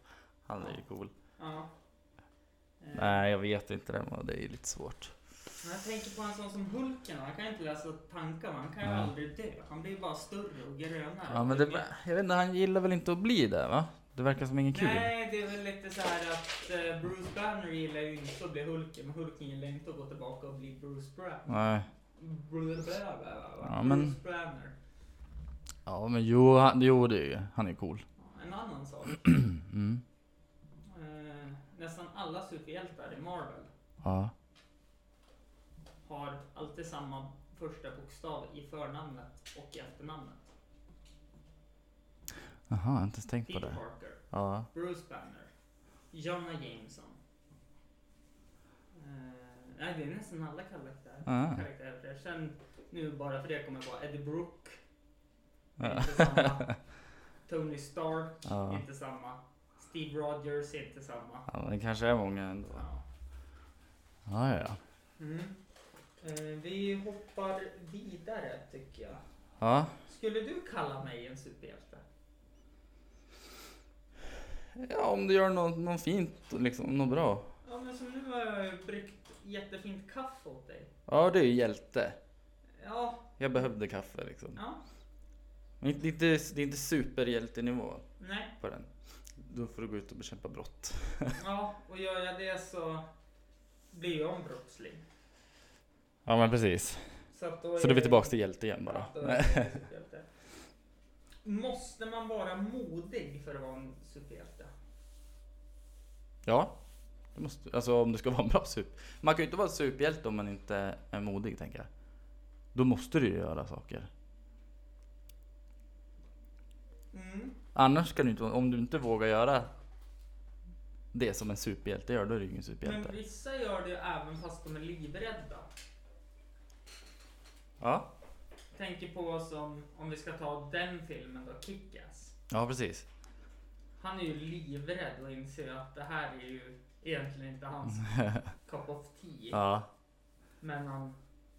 [SPEAKER 3] han är ju cool.
[SPEAKER 2] Ja. Eh,
[SPEAKER 3] Nej, jag vet inte det, men det är lite svårt.
[SPEAKER 2] Men jag tänker på en sån som Hulken, han kan ju inte läsa tankar, han kan ju
[SPEAKER 3] Nej.
[SPEAKER 2] aldrig dö. Han blir bara större och grönare.
[SPEAKER 3] Ja, men det, jag vet inte, han gillar väl inte att bli det, va? Det verkar som ingen kul.
[SPEAKER 2] Nej, det är väl lite så här att eh, Bruce Banner gillar ju inte att bli Hulken, men Hulken gillar inte att gå tillbaka och bli Bruce Banner.
[SPEAKER 3] Nej.
[SPEAKER 2] Bruce Banner.
[SPEAKER 3] Ja, men-
[SPEAKER 2] Bruce Banner.
[SPEAKER 3] Ja, men jo, han, jo det är ju, han är cool.
[SPEAKER 2] Ja, En annan sak.
[SPEAKER 3] Mm.
[SPEAKER 2] Eh, nästan alla superhjältar i Marvel
[SPEAKER 3] Ja.
[SPEAKER 2] har alltid samma första bokstav i förnamnet och i efternamnet.
[SPEAKER 3] Jaha, jag har inte ens tänkt på
[SPEAKER 2] Pete
[SPEAKER 3] det.
[SPEAKER 2] Parker,
[SPEAKER 3] Ja.
[SPEAKER 2] Bruce Banner, Jonna Jameson. Eh, nej, det är nästan alla karaktärer.
[SPEAKER 3] Ah.
[SPEAKER 2] karaktärer. Sen nu bara för det kommer vara Eddie Brooke.
[SPEAKER 3] Ja.
[SPEAKER 2] Inte samma. Tony Stark,
[SPEAKER 3] Ja.
[SPEAKER 2] inte samma. Steve Rogers, inte samma.
[SPEAKER 3] Ja, men det kanske är många ändå.
[SPEAKER 2] Ja.
[SPEAKER 3] Ja, ja.
[SPEAKER 2] Mm. Eh, vi hoppar vidare tycker jag.
[SPEAKER 3] Ja,
[SPEAKER 2] Skulle du kalla mig en superhjälte?
[SPEAKER 3] Ja, om du gör något, något fint, liksom, något bra.
[SPEAKER 2] Ja men som nu har jag ju bryggt jättefint kaffe åt dig.
[SPEAKER 3] Ja, du är ju hjälte.
[SPEAKER 2] Ja,
[SPEAKER 3] Jag behövde kaffe liksom.
[SPEAKER 2] ja,
[SPEAKER 3] Men inte- Det är inte, det är inte superhjältenivå
[SPEAKER 2] nej,
[SPEAKER 3] på den. Då får du gå ut och bekämpa brott.
[SPEAKER 2] ja och gör jag det så blir jag en brottsling.
[SPEAKER 3] Ja, men precis.
[SPEAKER 2] Så, att då
[SPEAKER 3] Så då är vi tillbaka till hjälte igen bara.
[SPEAKER 2] Ja, då är
[SPEAKER 3] Nej.
[SPEAKER 2] jag en superhjälte. Måste man vara modig för att vara en superhjälte?
[SPEAKER 3] Ja. Det måste, alltså om du ska vara en bra super. Man kan ju inte vara superhjälte om man inte är modig tänker jag. Då måste du ju göra saker.
[SPEAKER 2] Mm.
[SPEAKER 3] Annars kan du inte, om du inte vågar göra det som en superhjälte gör, då är du ju ingen
[SPEAKER 2] Men
[SPEAKER 3] superhjälte.
[SPEAKER 2] vissa gör det ju även fast de är livrädda.
[SPEAKER 3] Ja,
[SPEAKER 2] Tänker på som, om vi ska ta den filmen då, Kick-Ass.
[SPEAKER 3] ja precis.
[SPEAKER 2] Han är ju livrädd och inser att det här är ju egentligen inte hans cup of tea.
[SPEAKER 3] Ja,
[SPEAKER 2] Men han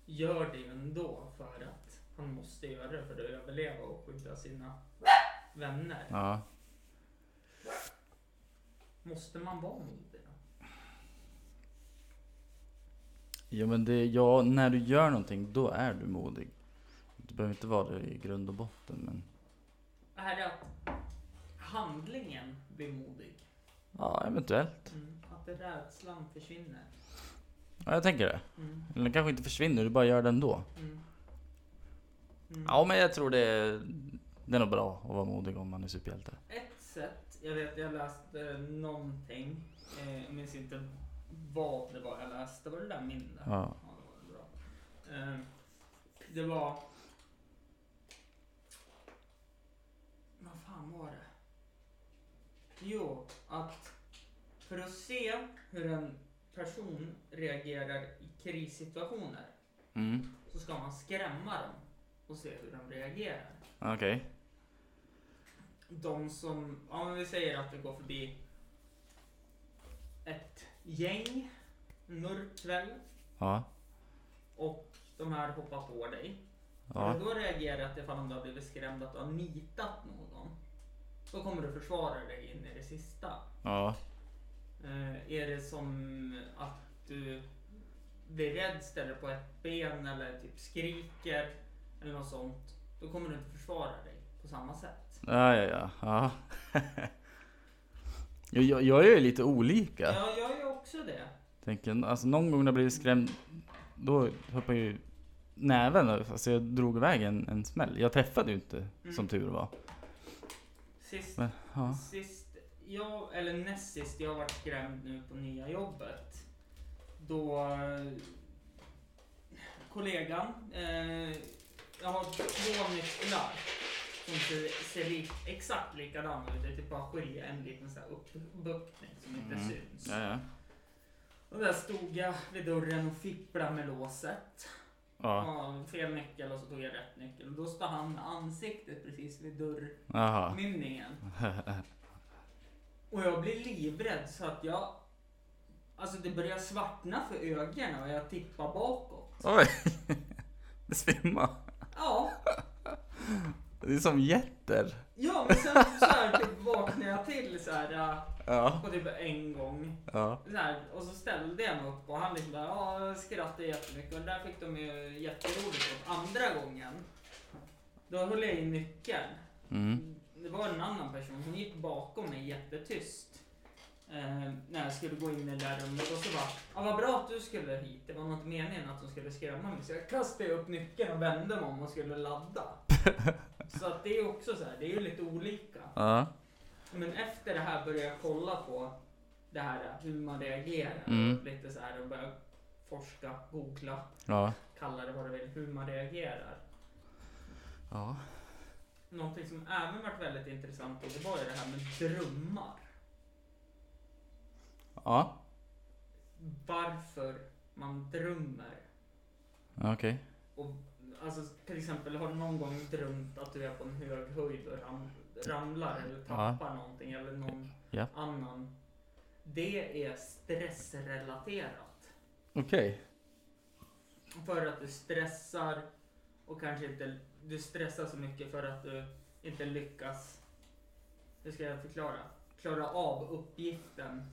[SPEAKER 2] gör det ju ändå för att han måste göra det för att överleva och skydda sina vänner.
[SPEAKER 3] ja.
[SPEAKER 2] Måste man vara modig? då?
[SPEAKER 3] Ja men det, ja, när du gör någonting, då är du modig. Du behöver inte vara det i grund och botten men.
[SPEAKER 2] Är det att handlingen blir modig?
[SPEAKER 3] Ja, eventuellt.
[SPEAKER 2] Mm. Att rädslan försvinner?
[SPEAKER 3] Ja, jag tänker det.
[SPEAKER 2] Mm.
[SPEAKER 3] Eller den kanske inte försvinner, du bara gör det ändå.
[SPEAKER 2] Mm. Mm.
[SPEAKER 3] Ja men jag tror det är, det är nog bra att vara modig om man är superhjälte.
[SPEAKER 2] Ett sätt, jag vet jag läste någonting, eh, jag minns inte vad det var jag läste, var det där min där?
[SPEAKER 3] Ja.
[SPEAKER 2] Ja, det var bra. Eh, Det var... Vad fan var det? Jo, att för att se hur en person reagerar i krissituationer
[SPEAKER 3] Mm.
[SPEAKER 2] så ska man skrämma dem och se hur de reagerar.
[SPEAKER 3] Okej.
[SPEAKER 2] De som, ja men vi säger att det går förbi ett gäng, en mörk kväll
[SPEAKER 3] Ja.
[SPEAKER 2] och de här hoppar på dig. Har
[SPEAKER 3] Ja.
[SPEAKER 2] du då reagerat ifall om du har blivit skrämd att du har nitat någon? Då kommer du försvara dig in i det sista.
[SPEAKER 3] Ja.
[SPEAKER 2] Eh, är det som att du blir rädd, ställer på ett ben eller typ skriker eller något sånt. Då kommer du inte försvara dig på samma sätt.
[SPEAKER 3] Ja, ja, ja. ja. jag, jag, jag är ju lite olika.
[SPEAKER 2] Ja, jag gör också det.
[SPEAKER 3] Tänker, alltså någon gång när jag blev skrämd, då hoppade ju näven över. Alltså jag drog iväg en, en smäll. Jag träffade ju inte, som
[SPEAKER 2] Mm.
[SPEAKER 3] tur var.
[SPEAKER 2] Sist,
[SPEAKER 3] Men, ja.
[SPEAKER 2] sist jag, eller näst sist jag varit skrämd nu på nya jobbet. Då eh, kollegan, eh, jag har två nycklar som ser, ser li, exakt likadana ut. Det är typ bara skilja en liten så här uppbuktning som inte
[SPEAKER 3] Mm.
[SPEAKER 2] syns.
[SPEAKER 3] Ja, ja.
[SPEAKER 2] Och där stod jag vid dörren och fipplade med låset.
[SPEAKER 3] Ja.
[SPEAKER 2] Ja, fel nyckel och så tog jag rätt nyckel. Och då stod han med ansiktet precis vid dörr
[SPEAKER 3] Jaha.
[SPEAKER 2] mynningen. Och jag blir livrädd så att jag... Alltså det börjar svartna för ögonen och jag tippar bakåt.
[SPEAKER 3] Oj! Det svimmar.
[SPEAKER 2] Ja,
[SPEAKER 3] Det är som jätter.
[SPEAKER 2] ja men sen så här typ vaknar jag till så här
[SPEAKER 3] Ja.
[SPEAKER 2] på typ en gång.
[SPEAKER 3] Ja.
[SPEAKER 2] Så här, och så ställde jag mig upp och han liksom bara, ja, skrattade jättemycket. Och det där fick de ju jätteroligt åt andra gången. Då höll jag i nyckeln.
[SPEAKER 3] Mm.
[SPEAKER 2] Det var en annan person, hon gick bakom mig jättetyst. Eh, när jag skulle gå in i det där rummet och så bara, ah, vad bra att du skulle hit. Det var nog inte meningen att hon skulle skrämma mig. Så jag kastade upp nyckeln och vände mig om och skulle ladda. så att det är också så här, det är ju lite olika.
[SPEAKER 3] Ja.
[SPEAKER 2] Men efter det här började jag kolla på det här hur man reagerar.
[SPEAKER 3] Mm.
[SPEAKER 2] Lite så här och började forska, googla,
[SPEAKER 3] Ja.
[SPEAKER 2] kalla det vad du vill, hur man reagerar.
[SPEAKER 3] Ja.
[SPEAKER 2] Någonting som även varit väldigt intressant och det var ju det här med drömmar.
[SPEAKER 3] Ja.
[SPEAKER 2] Varför man drömmer.
[SPEAKER 3] Okej.
[SPEAKER 2] Och, alltså, till exempel, har du någon gång drömt att du är på en hög höjd och ram, ramlar eller tappar någonting eller någon
[SPEAKER 3] Ja.
[SPEAKER 2] annan. Det är stressrelaterat.
[SPEAKER 3] Okej.
[SPEAKER 2] För att du stressar och kanske inte, du stressar så mycket för att du inte lyckas. Hur ska jag förklara? klara av uppgiften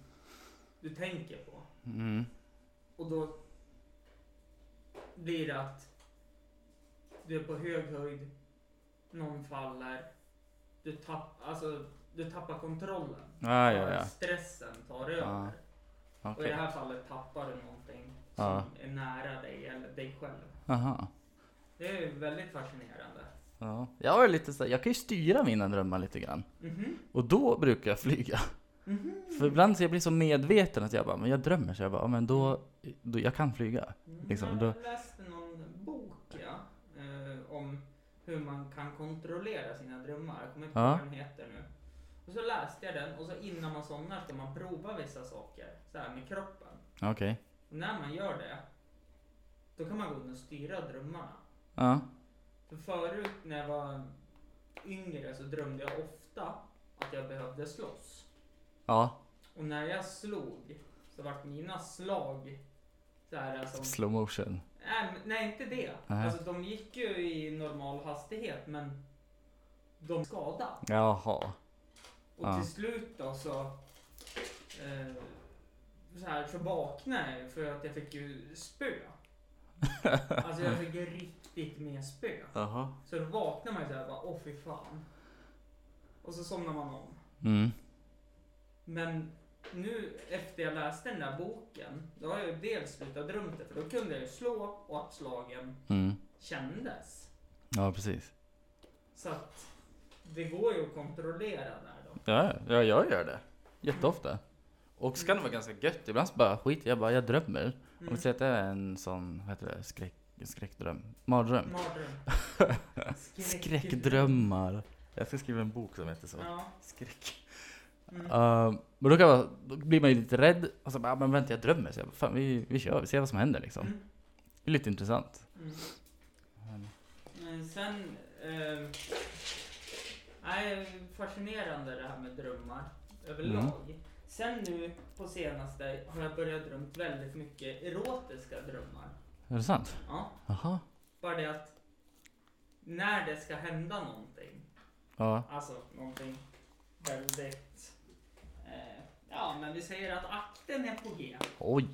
[SPEAKER 2] du tänker på.
[SPEAKER 3] Mm.
[SPEAKER 2] Och då blir det att du är på hög höjd, någon faller, du, tapp, alltså, du tappar kontrollen.
[SPEAKER 3] Ah, ja, ja.
[SPEAKER 2] Stressen tar över. Och
[SPEAKER 3] Ja,
[SPEAKER 2] i
[SPEAKER 3] Okej.
[SPEAKER 2] det här fallet tappar du någonting som
[SPEAKER 3] Ja.
[SPEAKER 2] är nära dig eller dig själv.
[SPEAKER 3] Aha.
[SPEAKER 2] Det är väldigt fascinerande.
[SPEAKER 3] Ja. Jag, är lite så här, jag kan ju styra mina drömmar lite grann.
[SPEAKER 2] Mhm.
[SPEAKER 3] Och då brukar jag flyga. För ibland så jag blir så medveten att jag bara, men jag drömmer. Så jag bara, ja, men då, då, jag kan flyga. Liksom,
[SPEAKER 2] Mm. jag
[SPEAKER 3] då-
[SPEAKER 2] läste någon bok ja, eh, om hur man kan kontrollera sina drömmar. Jag kommer inte ihåg
[SPEAKER 3] Ja.
[SPEAKER 2] vad den heter nu. Och så läste jag den och så innan man somnar ska man prova vissa saker så här med kroppen.
[SPEAKER 3] Okej.
[SPEAKER 2] Och när man gör det, då kan man gå in och styra drömmarna.
[SPEAKER 3] Ja.
[SPEAKER 2] För förut när jag var yngre så drömde jag ofta att jag behövde slåss.
[SPEAKER 3] Ja.
[SPEAKER 2] Och när jag slog så vart mina slag så här som
[SPEAKER 3] Slow motion.
[SPEAKER 2] Nej, men- Äh, nej inte det.
[SPEAKER 3] Nej.
[SPEAKER 2] Alltså de gick ju i normal hastighet men de skadade.
[SPEAKER 3] Jaha.
[SPEAKER 2] Och
[SPEAKER 3] Ja.
[SPEAKER 2] till slut då så, eh, så, här, så vaknade jag ju för att jag fick ju spö. Alltså jag fick ju riktigt med spö.
[SPEAKER 3] Jaha.
[SPEAKER 2] Så då vaknar man ju såhär bara, åh fy fan. Och så somnar man om.
[SPEAKER 3] Mm.
[SPEAKER 2] Men nu efter jag läste den där boken, då har jag ju dels slutat drömt det för då kunde jag ju slå och att slagen
[SPEAKER 3] Mm.
[SPEAKER 2] kändes.
[SPEAKER 3] Ja, precis.
[SPEAKER 2] Så att det går ju att kontrollera där då.
[SPEAKER 3] Ja, ja. ja, jag gör det. Jätteofta. Och så kan det vara ganska gött. Ibland så bara skit jag bara, jag drömmer. Om
[SPEAKER 2] Mm.
[SPEAKER 3] vi säger att det är en sån, vad heter det, skräck, skräckdröm? Mardröm?
[SPEAKER 2] Mardröm.
[SPEAKER 3] Skräckdrömmar. Jag ska skriva en bok som heter så.
[SPEAKER 2] Ja.
[SPEAKER 3] Skräck.
[SPEAKER 2] Mm.
[SPEAKER 3] Ehm, men då, kan jag, då blir man ju lite rädd och så bara, ah, men vänta jag drömmer. Så jag bara, fan vi, vi kör, vi ser vad som händer liksom.
[SPEAKER 2] Mm.
[SPEAKER 3] Det är lite intressant.
[SPEAKER 2] Mm.
[SPEAKER 3] Mm.
[SPEAKER 2] Men sen... Eh, nej, fascinerande det här med drömmar överlag.
[SPEAKER 3] Mm.
[SPEAKER 2] Sen nu på senaste har jag börjat drömt väldigt mycket erotiska drömmar.
[SPEAKER 3] Är det sant?
[SPEAKER 2] Ja,
[SPEAKER 3] Jaha.
[SPEAKER 2] bara det att när det ska hända någonting
[SPEAKER 3] Ja.
[SPEAKER 2] Alltså någonting väldigt... Eh, ja, men vi säger att akten är på G.
[SPEAKER 3] Oj.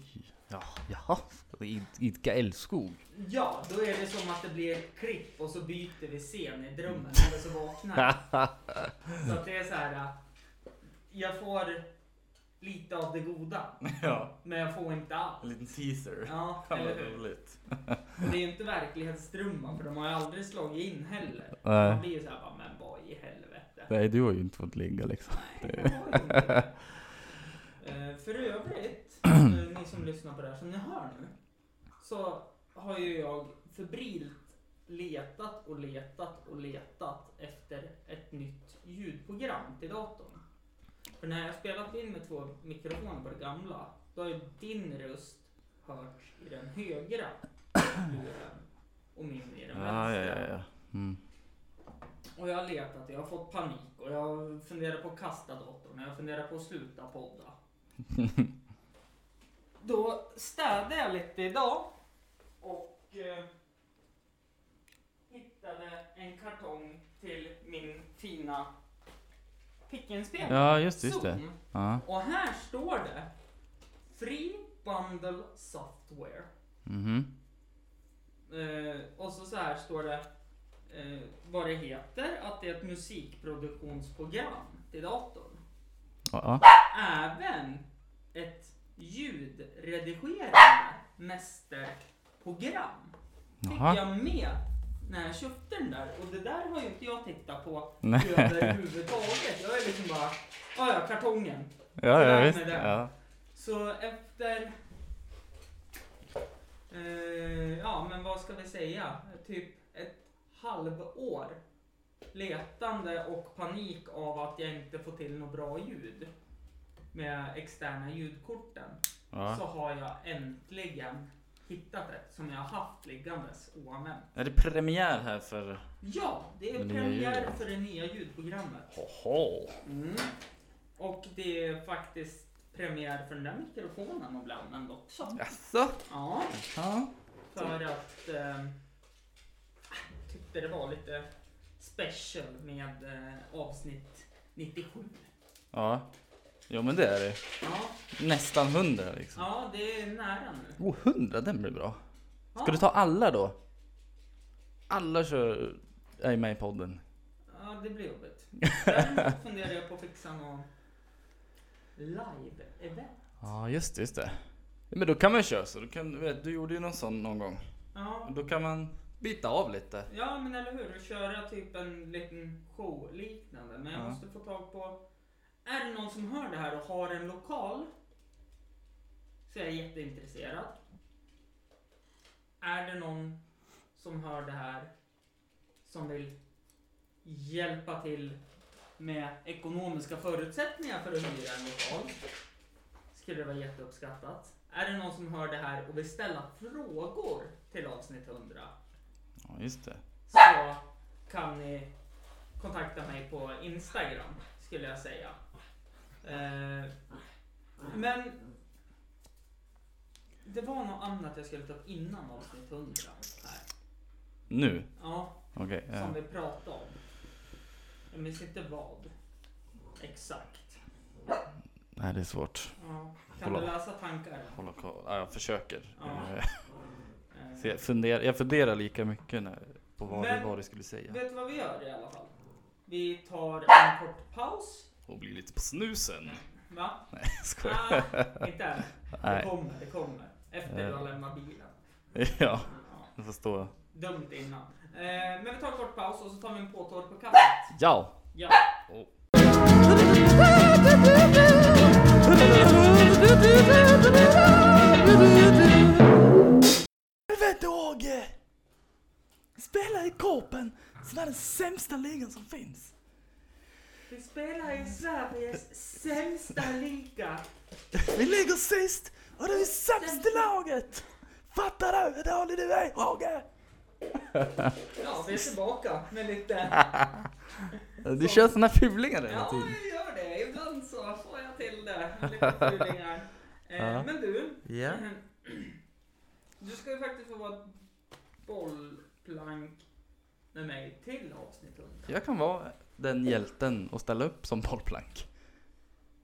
[SPEAKER 3] Ja, jaha. Id- Idka älskog.
[SPEAKER 2] Ja, då är det som att det blir ett klipp och så byter vi scen i drömmen eller så vaknar jag. Så att det är så här. eh, Jag får lite av det goda,
[SPEAKER 3] Ja,
[SPEAKER 2] men jag får inte
[SPEAKER 3] en
[SPEAKER 2] allt.
[SPEAKER 3] liten teaser.
[SPEAKER 2] Ja, eller hur? Och det är ju inte verklighetsdrömmar för de har ju aldrig slagit in heller.
[SPEAKER 3] Nej.
[SPEAKER 2] Man blir ju såhär bara, men vad i helvete.
[SPEAKER 3] Nej, du har ju inte fått ligga liksom.
[SPEAKER 2] Nej, jag har ju inte det. Eh, För övrigt, eh, ni som lyssnar på det här som ni hör nu, så har ju jag febrilt letat och letat och letat efter ett nytt ljudprogram till datorn. För när jag spelat in med två mikrofoner på det gamla, då har ju din röst hörts i den högra luren och min i den vänstra.
[SPEAKER 3] Ah, Ja, ja, ja. ja. Mm.
[SPEAKER 2] Och jag har letat, jag har fått panik och jag funderar på att kasta datorn, jag funderar på att sluta podda. Då städade jag lite idag och eh, hittade en kartong till min fina fickinspelare.
[SPEAKER 3] ja just, just det.
[SPEAKER 2] Zoom.
[SPEAKER 3] Ja.
[SPEAKER 2] Och här står det Free Bundle Software.
[SPEAKER 3] Mhm.
[SPEAKER 2] Eh, och så, så här står det eh, vad det heter, att det är ett musikproduktionsprogram till datorn.
[SPEAKER 3] Ja.
[SPEAKER 2] Även ett ljudredigerande mästerprogram fick
[SPEAKER 3] Jaha.
[SPEAKER 2] jag med när jag köpte den där och det där har ju inte jag tittat på
[SPEAKER 3] Nej.
[SPEAKER 2] överhuvudtaget. Jag är liksom bara, "Ah, ja kartongen.
[SPEAKER 3] Ja,
[SPEAKER 2] Det där
[SPEAKER 3] ja,
[SPEAKER 2] med
[SPEAKER 3] visst.
[SPEAKER 2] det.
[SPEAKER 3] Ja.
[SPEAKER 2] Så efter... Eh, ja, men vad ska vi säga? Typ ett halvår letande och panik av att jag inte får till något bra ljud med externa ljudkorten
[SPEAKER 3] Ja.
[SPEAKER 2] så har jag äntligen hittat ett som jag har haft liggandes oanvänt.
[SPEAKER 3] Är det premiär här för...
[SPEAKER 2] Ja, det är
[SPEAKER 3] Det nya
[SPEAKER 2] premiär
[SPEAKER 3] ljudet.
[SPEAKER 2] för det nya ljudprogrammet.
[SPEAKER 3] Hoho.
[SPEAKER 2] Mm. Och det är faktiskt premiär för den där mikrofonen och bland också.
[SPEAKER 3] Jaså?
[SPEAKER 2] Ja.
[SPEAKER 3] Ja.
[SPEAKER 2] För att eh, tyckte det var lite special med eh, avsnitt 97.
[SPEAKER 3] Ja. Jo men det är det.
[SPEAKER 2] Ja,
[SPEAKER 3] Nästan 100 liksom.
[SPEAKER 2] ja det är nära nu.
[SPEAKER 3] Oh, 100 den blir bra.
[SPEAKER 2] Ja.
[SPEAKER 3] Ska du ta alla då? Alla kör, är med i podden.
[SPEAKER 2] Ja, det blir jobbigt. Däremot funderar jag på att fixa någon live-event.
[SPEAKER 3] Ja just det, just det. Men då kan man ju köra så. Du, kan, du vet, du gjorde ju någon sån någon gång.
[SPEAKER 2] Ja,
[SPEAKER 3] Då kan man bita av lite.
[SPEAKER 2] ja, men eller hur? Köra typ en liten show liknande. Men jag
[SPEAKER 3] Ja.
[SPEAKER 2] måste få tag på... Är det någon som hör det här och har en lokal? Så är jag jätteintresserad. Är det någon som hör det här som vill hjälpa till med ekonomiska förutsättningar för att hyra en lokal? Skulle det vara jätteuppskattat. Är det någon som hör det här och vill ställa frågor till avsnitt 100
[SPEAKER 3] Ja just det.
[SPEAKER 2] så kan ni kontakta mig på Instagram skulle jag säga. Eh, men det var något annat jag skulle ta upp innan avsnitt 100. Här.
[SPEAKER 3] Nu?
[SPEAKER 2] Ja,
[SPEAKER 3] Okej. eh.
[SPEAKER 2] som vi pratade om. Jag minns inte vad. Exakt.
[SPEAKER 3] Nej det är svårt.
[SPEAKER 2] Ja. Kan
[SPEAKER 3] Kolla.
[SPEAKER 2] du läsa tankar?
[SPEAKER 3] Hålla koll. Ja, jag försöker.
[SPEAKER 2] Ja.
[SPEAKER 3] Eh,
[SPEAKER 2] Eh,
[SPEAKER 3] Så jag, funderar, jag funderar lika mycket när, på vad,
[SPEAKER 2] Men-
[SPEAKER 3] vad du skulle säga.
[SPEAKER 2] Vet du vad vi gör i alla fall? Vi tar en kort paus.
[SPEAKER 3] Och bli lite på snusen.
[SPEAKER 2] Va?
[SPEAKER 3] Nej, jag skojar.
[SPEAKER 2] Ah, inte än. Det
[SPEAKER 3] Nej. Eh.
[SPEAKER 2] kommer, det kommer. Efter du har lämnat bilen.
[SPEAKER 3] Ja,
[SPEAKER 2] Ja,
[SPEAKER 3] jag förstår.
[SPEAKER 2] dumt innan. Eh, men vi tar en kort paus och så tar vi en påtår på kaffet.
[SPEAKER 3] Ja!
[SPEAKER 2] Ja.
[SPEAKER 3] Helvete Åge! Spela i Korpen som är den sämsta ligan som finns.
[SPEAKER 2] Vi spelar i Sveriges sämsta liga.
[SPEAKER 3] Vi ligger sist och det är sämsta laget! Fattar du hur dålig du är Åge?
[SPEAKER 2] Ja, vi är tillbaka med lite
[SPEAKER 3] Du kör såna fulingar hela
[SPEAKER 2] Ja,
[SPEAKER 3] tiden.
[SPEAKER 2] jag gör det. Ibland så får jag till det. Lite fulingar. Eh,
[SPEAKER 3] Ja.
[SPEAKER 2] Men du.
[SPEAKER 3] Ja.
[SPEAKER 2] Du ska ju faktiskt få vara bollplank med mig till avsnitt 100.
[SPEAKER 3] Jag kan vara den hjälten och ställa upp som bollplank.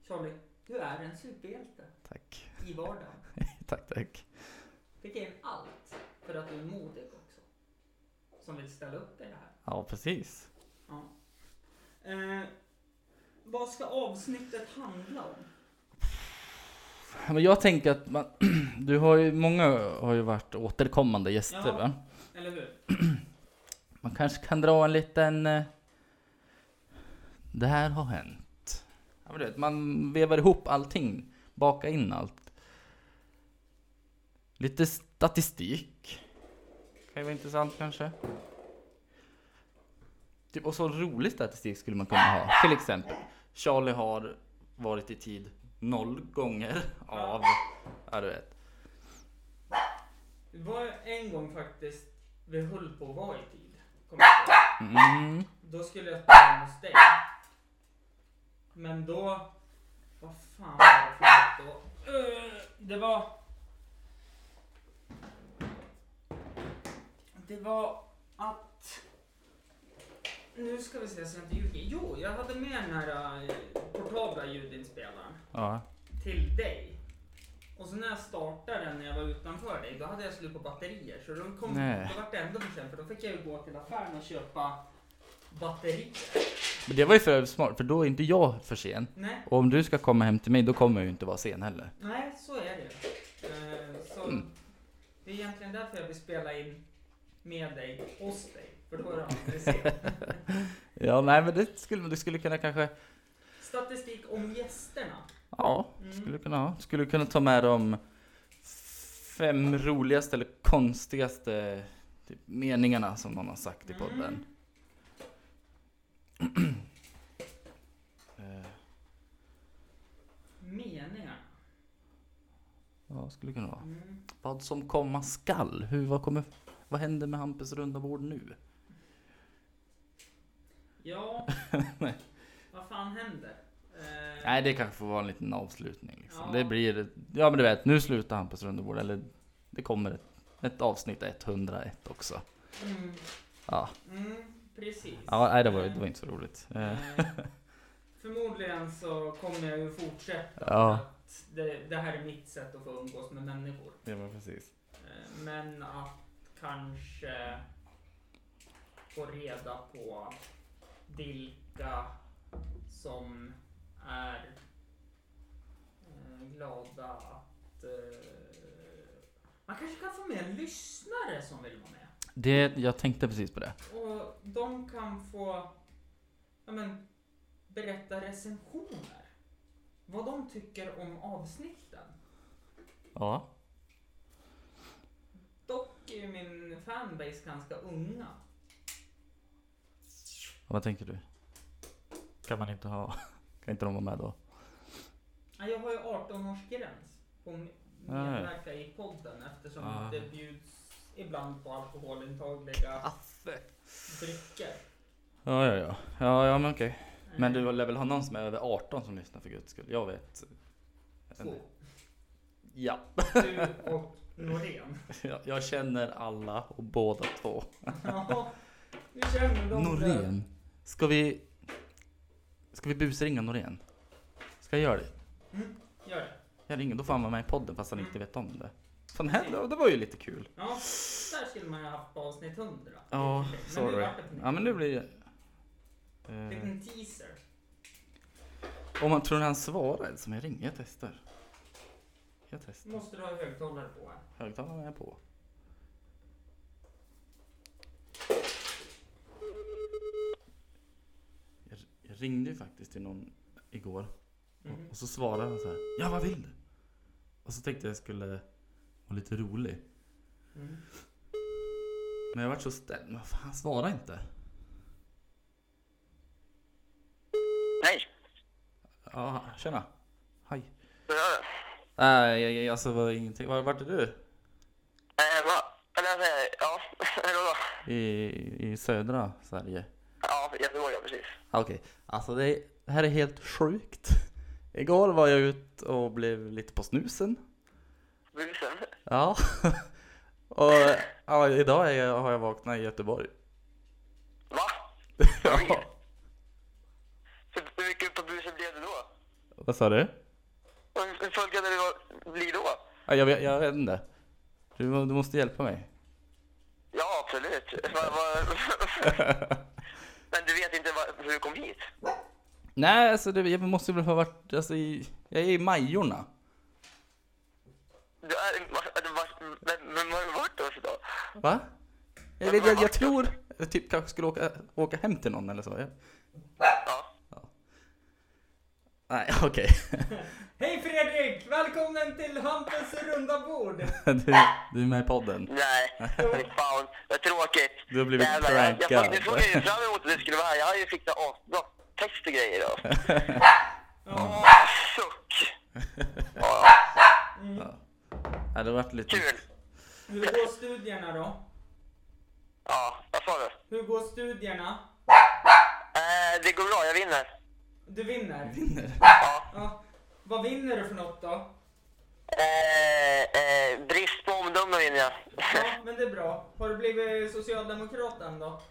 [SPEAKER 2] Charlie, du är en superhjälte
[SPEAKER 3] Tack,
[SPEAKER 2] i vardagen.
[SPEAKER 3] tack, tack.
[SPEAKER 2] Fick in allt för att du är modig också. Som vill ställa upp i det här.
[SPEAKER 3] Ja, precis.
[SPEAKER 2] Ja. Eh, vad ska avsnittet handla om?
[SPEAKER 3] Men jag tänker att man, du har ju, många har ju varit återkommande gäster
[SPEAKER 2] Ja.
[SPEAKER 3] va?
[SPEAKER 2] Eller hur?
[SPEAKER 3] Man kanske kan dra en liten... eh, Det här har hänt. Ja, men du vet, man vevar ihop allting, bakar in allt. Lite statistik. Kan ju vara intressant kanske. Typ, och så rolig statistik skulle man kunna ha. Till exempel, Charlie har varit i tid noll gånger av... Ja, du vet.
[SPEAKER 2] Det var en gång faktiskt vi höll på att vara i tid. Kommer jag ihåg.
[SPEAKER 3] Mm.
[SPEAKER 2] Då skulle jag spela in hos dig. Men då... Vad fan var det för något då? Eh, Det var... Det var att... Nu ska vi se så jag inte ljuger. Jo, jag hade med den här eh, portabla ljudinspelaren
[SPEAKER 3] Ja.
[SPEAKER 2] till dig. Och så när jag startade den när jag var utanför dig, då hade jag slut på batterier. Så de kom,
[SPEAKER 3] Nej.
[SPEAKER 2] då var det ändå för sent, för då fick jag ju gå till affären och köpa batterier.
[SPEAKER 3] Men det var ju för övrigt smart, för då är inte jag för sen.
[SPEAKER 2] Nej,
[SPEAKER 3] Och om du ska komma hem till mig, då kommer jag ju inte vara sen heller.
[SPEAKER 2] nej så är det. Eh, så
[SPEAKER 3] Mm.
[SPEAKER 2] Det är egentligen därför jag vill spela in med dig, hos dig. För då är det aldrig sent.
[SPEAKER 3] Ja, nej men det skulle du skulle kunna kanske...
[SPEAKER 2] Statistik om gästerna.
[SPEAKER 3] Ja,
[SPEAKER 2] Mm.
[SPEAKER 3] skulle kunna ha. Skulle kunna ta med de fem roligaste eller konstigaste typ, meningarna som någon har sagt i podden. Eh,
[SPEAKER 2] Meningar.
[SPEAKER 3] Ja, skulle kunna vara.
[SPEAKER 2] Mm.
[SPEAKER 3] Vad som komma skall. Hur, vad, kommer, vad händer med Hampus runda bord nu?
[SPEAKER 2] Ja, vad fan händer? Eh,
[SPEAKER 3] Nej, det kanske får vara en liten avslutning. Liksom.
[SPEAKER 2] Ja.
[SPEAKER 3] Det blir, ja men du vet, nu slutar Hampus rundebord, eller det kommer ett, ett avsnitt 101 också.
[SPEAKER 2] Mm,
[SPEAKER 3] Ja,
[SPEAKER 2] mm, precis.
[SPEAKER 3] ja nej, det, var, det
[SPEAKER 2] Eh,
[SPEAKER 3] var inte så roligt. Eh,
[SPEAKER 2] Eh, förmodligen Förmodligen så kommer jag ju fortsätta.
[SPEAKER 3] Ja.
[SPEAKER 2] Att det, det här är mitt sätt att få umgås med människor.
[SPEAKER 3] Ja, men precis.
[SPEAKER 2] Eh, Men att kanske få reda på vilka som är eh, glada att... eh, Man kanske kan få med en lyssnare som vill vara med.
[SPEAKER 3] Det, jag tänkte precis på det.
[SPEAKER 2] Och de kan få ja, men, berätta recensioner. Vad de tycker om avsnitten.
[SPEAKER 3] Ja.
[SPEAKER 2] Dock är min fanbase ganska unga.
[SPEAKER 3] Vad tänker du? Kan man inte ha... Kan inte de vara med då?
[SPEAKER 2] Ja, Jag har ju 18-årsgräns på att medverka i podden eftersom
[SPEAKER 3] Ah.
[SPEAKER 2] det bjuds ibland på alkoholintagliga drycker.
[SPEAKER 3] Ja, ja, ja. Ja, ja, men okej. Men
[SPEAKER 2] Eh,
[SPEAKER 3] du lär väl ha någon som är över 18 som lyssnar för guds skull? Jag vet.
[SPEAKER 2] Två.
[SPEAKER 3] Ja.
[SPEAKER 2] Du och Norén.
[SPEAKER 3] Jag, jag känner alla och båda två.
[SPEAKER 2] Ja, du känner dem. där.
[SPEAKER 3] Norén. Ska vi... Ska vi busringa Norén? Ska jag göra det?
[SPEAKER 2] Gör det.
[SPEAKER 3] Jag ringer, då får han vara med i podden fast han inte vet om det. Fan, här-
[SPEAKER 2] Okej.
[SPEAKER 3] det var ju lite kul.
[SPEAKER 2] Ja, där skulle man ju ha haft på avsnitt 100.
[SPEAKER 3] Ja,
[SPEAKER 2] Men nu
[SPEAKER 3] sorry.
[SPEAKER 2] vart det på nytt.
[SPEAKER 3] Ja, men nu blir det...
[SPEAKER 2] En
[SPEAKER 3] Eh,
[SPEAKER 2] liten teaser.
[SPEAKER 3] Om man tror han svarar eller som jag ringer, jag testar. Jag testar.
[SPEAKER 2] Måste du ha högtalare på här?
[SPEAKER 3] Högtalarna är på. Jag, jag ringde ju faktiskt till någon igår
[SPEAKER 2] Mhm.
[SPEAKER 3] och, och så svarade han så här. Ja, vad vill du? Och så tänkte jag skulle vara lite rolig.
[SPEAKER 2] Mm.
[SPEAKER 3] Men jag vart så ställd. Men fan, han svarar inte.
[SPEAKER 4] Hej,
[SPEAKER 3] Ja, tjena. Hej.
[SPEAKER 4] hur är det?
[SPEAKER 3] Nej, jag- jag- alltså det var ingenting. Var, vart är du?
[SPEAKER 4] Eh, va? Eller, eh, ja, hej då.
[SPEAKER 3] I, I södra Sverige.
[SPEAKER 4] Ja, Göteborg, ja precis.
[SPEAKER 3] Ja, Okej, alltså det, är- det här är helt sjukt. Igår var jag ut och blev lite på snusen.
[SPEAKER 4] Busen?
[SPEAKER 3] Ja. Och ja, idag är jag, har jag vaknat i Göteborg.
[SPEAKER 4] Va?
[SPEAKER 3] Ja.
[SPEAKER 4] Hur, hur mycket upp på busen blev det då?
[SPEAKER 3] Vad sa du?
[SPEAKER 4] Och Hur hur full kan det då bli då?
[SPEAKER 3] Ja, jag, vet- jag vet inte. Du, må- du måste hjälpa mig.
[SPEAKER 4] Ja, absolut. Va, va, men du vet inte va, hur du kom hit?
[SPEAKER 3] Nej, alltså det, jag måste väl ha varit, alltså i, jag är i Majorna.
[SPEAKER 4] Du är, va, va, vem, vem har du varit hos då?
[SPEAKER 3] Va? Jag, vet- jag, jag tror, jag typ kanske skulle åka, åka hem till någon eller så. Jag,
[SPEAKER 4] Ja.
[SPEAKER 3] nej, okej.
[SPEAKER 2] Hej Fredrik! Välkommen till Hampus runda bord!
[SPEAKER 3] Du, du är med i podden.
[SPEAKER 4] Nej, fy fan. Vad tråkigt.
[SPEAKER 3] Du har blivit
[SPEAKER 4] Jävlar, jag, jag,
[SPEAKER 3] prankad.
[SPEAKER 4] jag, jag såg ju fram emot att du skulle vara här. Jag har ju fixat asbra text och grejer då.
[SPEAKER 2] Ja,
[SPEAKER 4] Suck! Ja,
[SPEAKER 3] Ja, det har varit lite...
[SPEAKER 4] kul.
[SPEAKER 2] hur går studierna då?
[SPEAKER 4] Ja, vad sa du?
[SPEAKER 2] Hur går studierna?
[SPEAKER 4] Eh, det går bra, jag vinner.
[SPEAKER 2] Du vinner?
[SPEAKER 4] Ja.
[SPEAKER 2] Ja. Vad vinner du för något då?
[SPEAKER 4] Eh, eh, brist på omdöme vinner jag.
[SPEAKER 2] Ja, men det är bra. Har du blivit socialdemokrat än då?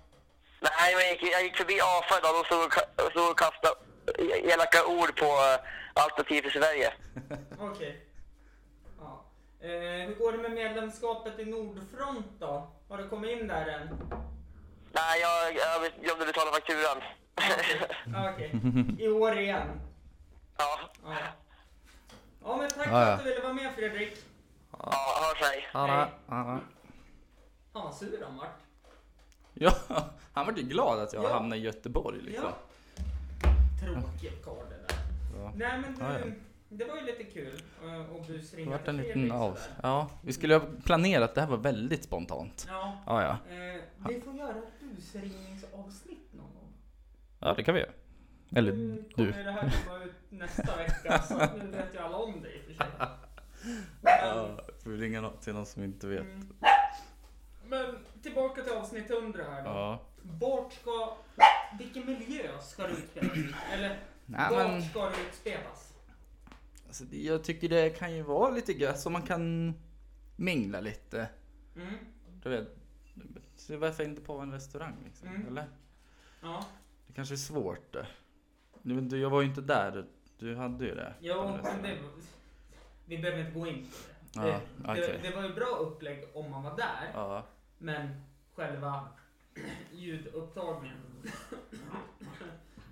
[SPEAKER 4] Nej, men jag gick, jag gick förbi AFA idag och så, så kastade e- elaka ord på eh, Alternativ för Sverige.
[SPEAKER 2] Okej. Ja. Eh, hur går det med medlemskapet i Nordfront då? Har du kommit in där än?
[SPEAKER 4] Nej, jag, jag glömde betala fakturan.
[SPEAKER 2] Ja, Okej. I år igen.
[SPEAKER 4] ja,
[SPEAKER 2] Ja. Ja men tack
[SPEAKER 3] Ja,
[SPEAKER 2] för
[SPEAKER 3] ja.
[SPEAKER 2] att du ville vara med Fredrik.
[SPEAKER 4] ja, hörs hej.
[SPEAKER 3] Ara, ara.
[SPEAKER 2] Fan vad sur han vart.
[SPEAKER 3] Ja, han var ju glad att jag
[SPEAKER 2] Ja.
[SPEAKER 3] hamnade i Göteborg liksom.
[SPEAKER 2] Ja. Tråkig karl det där.
[SPEAKER 3] Ja.
[SPEAKER 2] Nej men du,
[SPEAKER 3] Ja, ja.
[SPEAKER 2] det var ju lite kul eh, att
[SPEAKER 3] Det
[SPEAKER 2] busringa
[SPEAKER 3] vart
[SPEAKER 2] till
[SPEAKER 3] en liten
[SPEAKER 2] Fredrik
[SPEAKER 3] av.
[SPEAKER 2] sådär.
[SPEAKER 3] Ja, vi skulle ha planerat, det här var väldigt spontant.
[SPEAKER 2] Ja.
[SPEAKER 3] Ja, ja.
[SPEAKER 2] Eh, vi får göra ett busringningsavsnitt någon gång.
[SPEAKER 3] Ja, det kan vi göra. Eller
[SPEAKER 2] nu
[SPEAKER 3] du.
[SPEAKER 2] kommer det här komma ut nästa vecka så att nu vet ju alla om det i och för sig.
[SPEAKER 3] Ja, får vi ringa nå- till någon som inte vet.
[SPEAKER 2] Mm. Men tillbaka till avsnitt 100 här då.
[SPEAKER 3] Ja.
[SPEAKER 2] Vart ska... Vilken miljö ska det utspelas i? Eller
[SPEAKER 3] Nej,
[SPEAKER 2] vart
[SPEAKER 3] men
[SPEAKER 2] ska det utspelas?
[SPEAKER 3] alltså, det- jag tycker det kan ju vara lite gött så man kan mingla lite.
[SPEAKER 2] Mm.
[SPEAKER 3] Du vet. Så varför inte på en restaurang liksom?
[SPEAKER 2] Mm.
[SPEAKER 3] Eller?
[SPEAKER 2] Ja.
[SPEAKER 3] Det kanske är svårt. det. Nej, men du, jag var ju inte där. Du hade ju det.
[SPEAKER 2] Jo,
[SPEAKER 3] på
[SPEAKER 2] men
[SPEAKER 3] resten.
[SPEAKER 2] det, vi behöver inte gå in på det.
[SPEAKER 3] Ja,
[SPEAKER 2] det,
[SPEAKER 3] okej.
[SPEAKER 2] det. Det var ju bra upplägg om man var där,
[SPEAKER 3] Ja.
[SPEAKER 2] men själva ljudupptagningen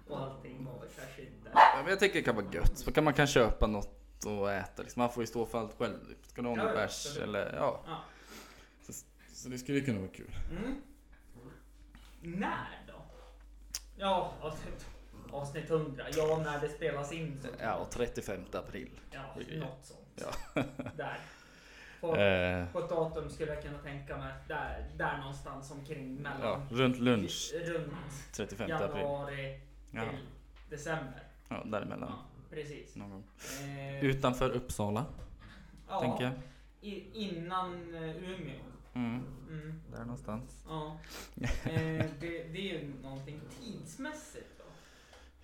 [SPEAKER 2] och allting var väl kanske inte...
[SPEAKER 3] Ja, men jag tycker det kan vara gött. Så kan man kan köpa något och äta. Liksom. Man får ju stå för allt själv. typ. Ska du ha
[SPEAKER 2] Ja,
[SPEAKER 3] någon
[SPEAKER 2] ja,
[SPEAKER 3] bärs
[SPEAKER 2] absolut.
[SPEAKER 3] eller ja.
[SPEAKER 2] Ja.
[SPEAKER 3] Så, så det skulle ju kunna vara kul.
[SPEAKER 2] Mm. När då? Ja, avsnitt, avsnitt 100. Ja, när det spelas in. Så.
[SPEAKER 3] Ja, och 35 april.
[SPEAKER 2] Ja,
[SPEAKER 3] Ja.
[SPEAKER 2] något sånt.
[SPEAKER 3] Ja.
[SPEAKER 2] Där. På,
[SPEAKER 3] Eh,
[SPEAKER 2] på ett datum skulle jag kunna tänka mig. Där, där någonstans omkring
[SPEAKER 3] ja,
[SPEAKER 2] mellan
[SPEAKER 3] runt lunch
[SPEAKER 2] runt
[SPEAKER 3] 35 april.
[SPEAKER 2] januari till
[SPEAKER 3] Ja,
[SPEAKER 2] december.
[SPEAKER 3] ja
[SPEAKER 2] Ja,
[SPEAKER 3] däremellan.
[SPEAKER 2] precis.
[SPEAKER 3] Någon gång.
[SPEAKER 2] Eh,
[SPEAKER 3] Utanför Uppsala,
[SPEAKER 2] ja,
[SPEAKER 3] tänker jag.
[SPEAKER 2] I, innan eh, Umeå.
[SPEAKER 3] Mm,
[SPEAKER 2] Mm,
[SPEAKER 3] där någonstans.
[SPEAKER 2] ja. eh, det, det är ju någonting tidsmässigt då.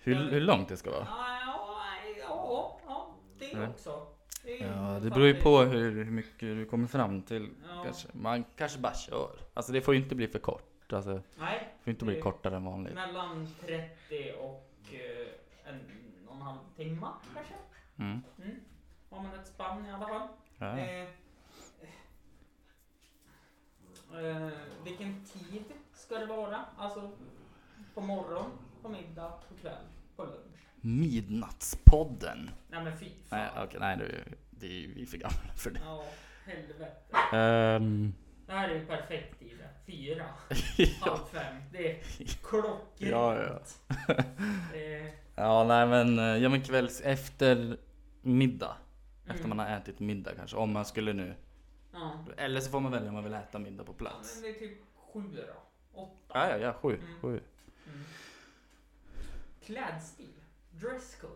[SPEAKER 3] Hur,
[SPEAKER 2] Ja.
[SPEAKER 3] hur långt det ska vara?
[SPEAKER 2] Ja, ja, ja, ja, det
[SPEAKER 3] Ja.
[SPEAKER 2] också. Det är
[SPEAKER 3] Ja,
[SPEAKER 2] ju
[SPEAKER 3] det beror ju
[SPEAKER 2] faktiskt-
[SPEAKER 3] på hur, hur mycket du kommer fram till
[SPEAKER 2] Ja.
[SPEAKER 3] kanske. Man kanske bara kör. Alltså det får ju inte bli för kort. Alltså, det
[SPEAKER 2] Nej,
[SPEAKER 3] får inte bli
[SPEAKER 2] Det-
[SPEAKER 3] kortare än vanligt.
[SPEAKER 2] mellan 30 och eh, en och en halv timme kanske.
[SPEAKER 3] Mm.
[SPEAKER 2] Mm. Har man ett spann i alla fall.
[SPEAKER 3] Ja.
[SPEAKER 2] Eh, eh, vilken tid ska det vara? Alltså på morgon, på middag, på kväll, på lunch?
[SPEAKER 3] Midnattspodden.
[SPEAKER 2] Nej men fy fan.
[SPEAKER 3] Nej, okej, nej, det är ju- det är ju vi för gamla för det.
[SPEAKER 2] Ja, helvete.
[SPEAKER 3] Ehm,
[SPEAKER 2] Det här är ju perfekt tid. Fyra,
[SPEAKER 3] ja.
[SPEAKER 2] halv fem. Det är klockrent.
[SPEAKER 3] Ja, ja.
[SPEAKER 2] Eh,
[SPEAKER 3] ja, nej men, eh, ja, men kvälls efter middag. Efter
[SPEAKER 2] Mm.
[SPEAKER 3] man har ätit middag kanske. Om man skulle nu.
[SPEAKER 2] ja.
[SPEAKER 3] Eller så får man välja om man vill äta middag på
[SPEAKER 2] ja,
[SPEAKER 3] plats.
[SPEAKER 2] men det är typ sju då. Åtta.
[SPEAKER 3] Ja, ja, ja, sju.
[SPEAKER 2] Mm.
[SPEAKER 3] sju.
[SPEAKER 2] Mm. Klädstil. Dresscode.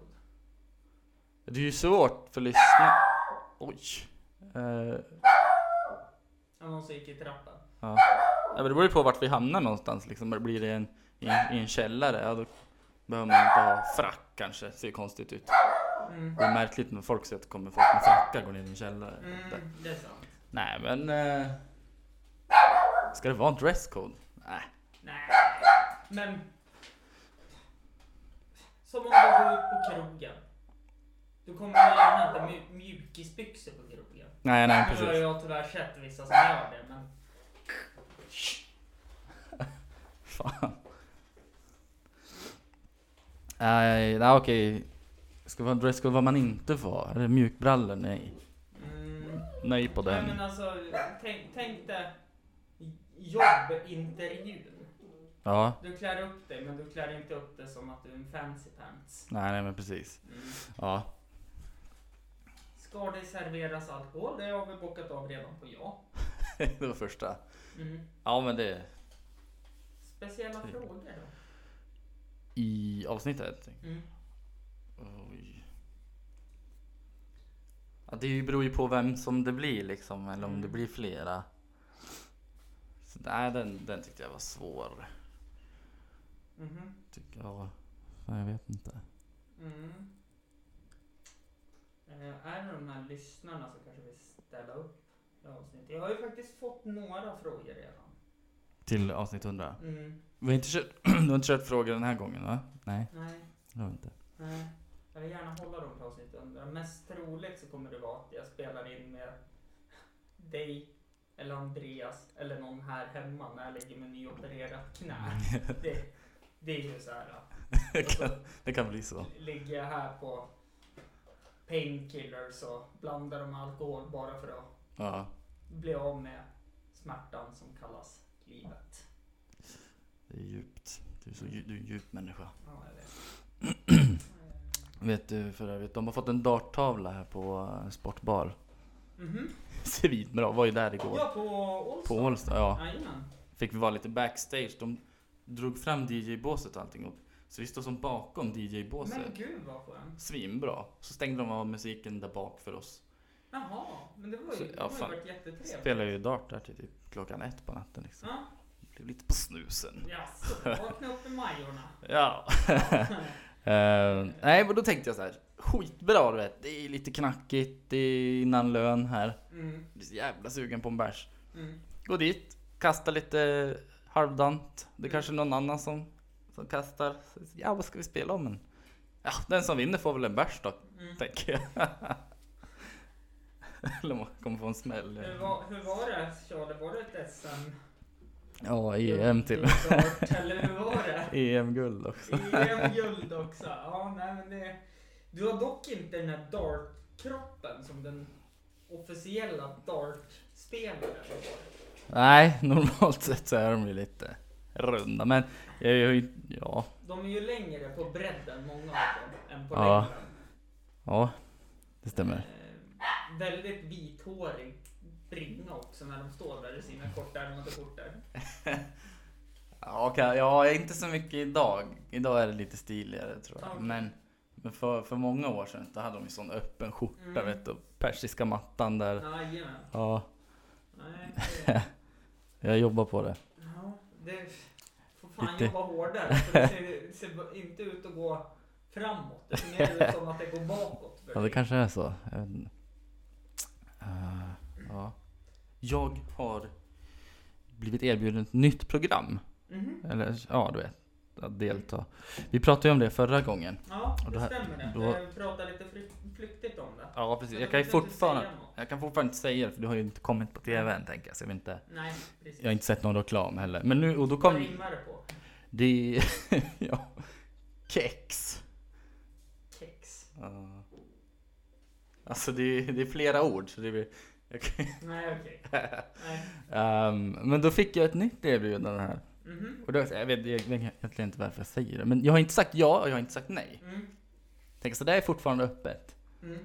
[SPEAKER 3] Det är ju svårt för lyssna... Oj. Eh,
[SPEAKER 2] Det var någon som gick i trappan.
[SPEAKER 3] Ja. ja men det beror ju på vart vi hamnar någonstans liksom. Blir det en, i, en, i en källare, ja då behöver man inte ha frack kanske. Ser ju konstigt ut.
[SPEAKER 2] Mm.
[SPEAKER 3] Det är märkligt när folk säger att det kommer folk med frackar går ner i en källare. Där.
[SPEAKER 2] Mm, det är sant.
[SPEAKER 3] Nej men... eh, Ska det vara en dresscode? Nej.
[SPEAKER 2] Nej, men... Som om du går ut på krogen. Du kommer gärna inte ha mju- mjukisbyxor på krogen.
[SPEAKER 3] Nej, nej
[SPEAKER 2] Nu har
[SPEAKER 3] precis.
[SPEAKER 2] jag tyvärr sett vissa som gör det, men...
[SPEAKER 3] Fan. Nej, nej okej. Ska det vara en dresscode vad man inte får ha? Är det mjukbrallor? Nej.
[SPEAKER 2] Mm,
[SPEAKER 3] Nej på
[SPEAKER 2] nej,
[SPEAKER 3] den.
[SPEAKER 2] men alltså, tänk, tänk dig jobbintervjun.
[SPEAKER 3] Ja.
[SPEAKER 2] Du klär upp dig, men du klär inte upp dig som att du är en fancy pants.
[SPEAKER 3] Nej, nej men precis.
[SPEAKER 2] Mm.
[SPEAKER 3] Ja.
[SPEAKER 2] Ska det serveras alkohol? Det har vi bockat av redan på ja.
[SPEAKER 3] Det var första.
[SPEAKER 2] Mm.
[SPEAKER 3] Ja men det...
[SPEAKER 2] Speciella frågor då?
[SPEAKER 3] I avsnittet?
[SPEAKER 2] Mm.
[SPEAKER 3] Oj. Ja, det beror ju på vem som det blir liksom, eller om det
[SPEAKER 2] Mm.
[SPEAKER 3] blir flera. Så, nej, den, den tyckte jag var svår.
[SPEAKER 2] Mhm.
[SPEAKER 3] Tycker jag. Fan, jag vet inte.
[SPEAKER 2] Mm. Eh, är det de här lyssnarna som kanske vill ställa upp det här avsnittet? Jag har ju faktiskt fått några frågor redan.
[SPEAKER 3] Till avsnitt 100.
[SPEAKER 2] Mm.
[SPEAKER 3] Vi har inte kört, du har inte kört frågor den här gången va? Nej,
[SPEAKER 2] Nej,
[SPEAKER 3] det har vi inte.
[SPEAKER 2] nej. Jag vill gärna hålla dem på avsnitt 100. Mest troligt så kommer det vara att jag spelar in med dig eller Andreas eller någon här hemma när jag ligger med nyopererat knä. Det, det är ju så här. ja.
[SPEAKER 3] det, kan, det kan bli så.
[SPEAKER 2] ligger jag här på painkillers och blandar dem med alkohol bara för att
[SPEAKER 3] Ja.
[SPEAKER 2] bli av med smärtan som kallas livet.
[SPEAKER 3] Det är djupt. Du är, så, dju- du är en djup människa.
[SPEAKER 2] Ja, jag vet.
[SPEAKER 3] Vet du för övrigt, de har fått en darttavla här på eh, Sportbar.
[SPEAKER 2] Mhm.
[SPEAKER 3] Svinbra, var ju där igår.
[SPEAKER 2] Ja, på Olsson.
[SPEAKER 3] På Ålsta, ja.
[SPEAKER 2] Jajamän.
[SPEAKER 3] Fick vi vara lite backstage. De drog fram DJ-båset och allting. Och så vi stod som bakom
[SPEAKER 2] Men
[SPEAKER 3] DJ-båset.
[SPEAKER 2] gud vad skönt.
[SPEAKER 3] Svinbra. Så stängde de av musiken där bak för oss.
[SPEAKER 2] Jaha, men det var
[SPEAKER 3] Så,
[SPEAKER 2] ju,
[SPEAKER 3] ja,
[SPEAKER 2] det har
[SPEAKER 3] fan.
[SPEAKER 2] ju varit jättetrevligt.
[SPEAKER 3] Spelade ju dart där till typ klockan ett på natten liksom.
[SPEAKER 2] Ja,
[SPEAKER 3] Blev lite på snusen.
[SPEAKER 2] jaså, vakna upp i Majorna.
[SPEAKER 3] Ja. Ehm, nej, men då tänkte jag så här. Skitbra du vet. Det är lite knackigt. Det är innan lön här.
[SPEAKER 2] Mm,
[SPEAKER 3] Blir så jävla sugen på en bärs.
[SPEAKER 2] mm,
[SPEAKER 3] Gå dit, kasta lite halvdant. Det är kanske någon annan som, som kastar. Så, Ja, vad ska vi spela om? En Ja, den som vinner får väl en bärs då,
[SPEAKER 2] Mm.
[SPEAKER 3] tänker jag. Eller man kommer få en
[SPEAKER 2] Hur,
[SPEAKER 3] smäll.
[SPEAKER 2] var, hur var det Charlie? Var det ett SM?
[SPEAKER 3] Ja, EM till E
[SPEAKER 2] Start, Eller hur var det?
[SPEAKER 3] EM-guld också.
[SPEAKER 2] EM-guld också. Ja, nej, men det, du har dock inte den här dartkroppen som den officiella dartspelaren har.
[SPEAKER 3] Nej, normalt sett så är de ju lite runda, men jag, är ju ja,
[SPEAKER 2] De är ju längre på bredden, många av dem, än på
[SPEAKER 3] Ja.
[SPEAKER 2] längden.
[SPEAKER 3] ja, det stämmer.
[SPEAKER 2] Eh, väldigt vithårig bringa också när de står där i sina kortärmade skjortor.
[SPEAKER 3] Ja, okej, ja, inte så mycket idag. Idag är det lite stiligare tror jag.
[SPEAKER 2] Okej.
[SPEAKER 3] Men, men för, för många år sedan, då hade de ju sån öppen skjorta,
[SPEAKER 2] Mm.
[SPEAKER 3] vet du, och persiska mattan där.
[SPEAKER 2] Jajamän.
[SPEAKER 3] Ja,
[SPEAKER 2] Nej, det-
[SPEAKER 3] jag jobbar på det.
[SPEAKER 2] Ja, det får fan
[SPEAKER 3] Lite.
[SPEAKER 2] jobba hårdare. För det ser, ser inte ut att gå framåt. Det ser mer ut som att det går bakåt. För
[SPEAKER 3] Ja, det
[SPEAKER 2] dig.
[SPEAKER 3] kanske är så. Jag vet inte. Eh, ja. Jag har blivit erbjuden ett nytt program.
[SPEAKER 2] Mhm.
[SPEAKER 3] Eller ja, du vet. Att delta. Vi pratade ju om det förra gången.
[SPEAKER 2] Ja,
[SPEAKER 3] Och
[SPEAKER 2] det
[SPEAKER 3] det här-
[SPEAKER 2] stämmer det.
[SPEAKER 3] då-
[SPEAKER 2] Du pratade lite fly- flyktigt om det.
[SPEAKER 3] Ja,
[SPEAKER 2] Men
[SPEAKER 3] precis.
[SPEAKER 2] då
[SPEAKER 3] Jag kan ju
[SPEAKER 2] vill du inte
[SPEAKER 3] fortfarande,
[SPEAKER 2] säga något.
[SPEAKER 3] jag kan fortfarande inte säga det för du har ju inte kommit på TVn tänker jag. Så jag, vet inte,
[SPEAKER 2] Nej, precis.
[SPEAKER 3] jag har inte sett någon reklam heller. Men nu, och då
[SPEAKER 2] Vad
[SPEAKER 3] kom
[SPEAKER 2] rimmar det på?
[SPEAKER 3] det... ja. Kex.
[SPEAKER 2] Kex.
[SPEAKER 3] Ja. Alltså det är, det är flera ord så det blir... Jag kan,
[SPEAKER 2] Nej, okej. Nej.
[SPEAKER 3] Ehm, men då fick jag ett nytt erbjudande här.
[SPEAKER 2] Mhm.
[SPEAKER 3] Och då, jag vet jag vet egentligen inte varför jag säger det. Men jag har inte sagt ja och jag har inte sagt nej.
[SPEAKER 2] Mm.
[SPEAKER 3] Tänk så det är fortfarande öppet.
[SPEAKER 2] Mm.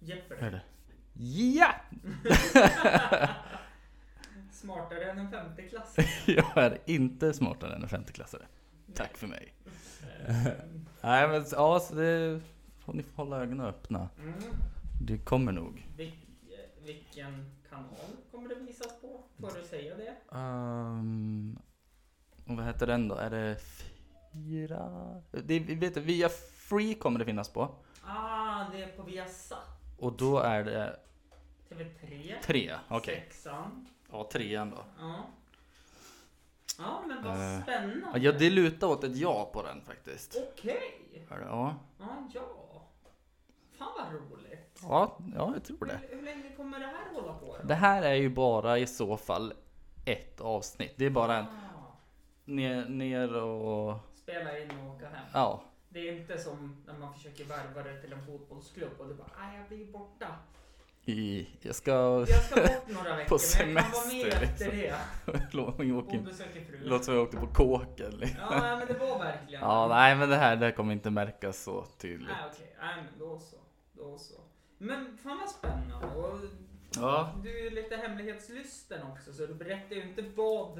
[SPEAKER 2] Jepper.
[SPEAKER 3] Hör du? Ja!
[SPEAKER 2] Smartare än en femteklass.
[SPEAKER 3] Jag är inte smartare än en femteklassare. Tack för mig. Nej men s- ja, så det får ni hålla ögonen öppna.
[SPEAKER 2] Mm.
[SPEAKER 3] Det kommer nog.
[SPEAKER 2] Vil- eh, vilken kanal kommer det visas på? Får du säga det?
[SPEAKER 3] Ehm, och vad heter den då? Är det fyra? Det, är- vi vet du, via Free kommer det finnas på.
[SPEAKER 2] Ah, det är på Viasat.
[SPEAKER 3] Och då är det
[SPEAKER 2] TV3.
[SPEAKER 3] tre. Okej.
[SPEAKER 2] Sexan.
[SPEAKER 3] Ja, trean då.
[SPEAKER 2] Ja. Ja, men vad
[SPEAKER 3] Eh,
[SPEAKER 2] spännande.
[SPEAKER 3] Ja, det lutar åt ett ja på den faktiskt.
[SPEAKER 2] Okej.
[SPEAKER 3] Hör du? Ja,
[SPEAKER 2] Ja, ja. Fan vad roligt.
[SPEAKER 3] ja, ja jag tror det.
[SPEAKER 2] Hur, hur länge kommer det här hålla på?
[SPEAKER 3] Det här är ju bara i så fall ett avsnitt. Det är bara en
[SPEAKER 2] Ah,
[SPEAKER 3] ner, ner och...
[SPEAKER 2] spela in och åka hem.
[SPEAKER 3] Ja.
[SPEAKER 2] Det är inte som när man försöker värva det till en fotbollsklubb och du bara, nej jag blir borta.
[SPEAKER 3] I, jag ska...
[SPEAKER 2] Jag ska bort några veckor, men jag kan vara med
[SPEAKER 3] semester,
[SPEAKER 2] efter det.
[SPEAKER 3] Låt mig
[SPEAKER 2] Och
[SPEAKER 3] åka-
[SPEAKER 2] besöka frugan.
[SPEAKER 3] Låt som jag åkte på kåken. liksom.
[SPEAKER 2] Ja, men det var verkligen.
[SPEAKER 3] Ja, nej men det här, det här kommer inte märkas så tydligt.
[SPEAKER 2] Nej, okej. Nej, men då så. Då så. Men fan vad spännande. Och
[SPEAKER 3] Ja,
[SPEAKER 2] du är ju lite hemlighetslysten också, så du berättar ju inte vad...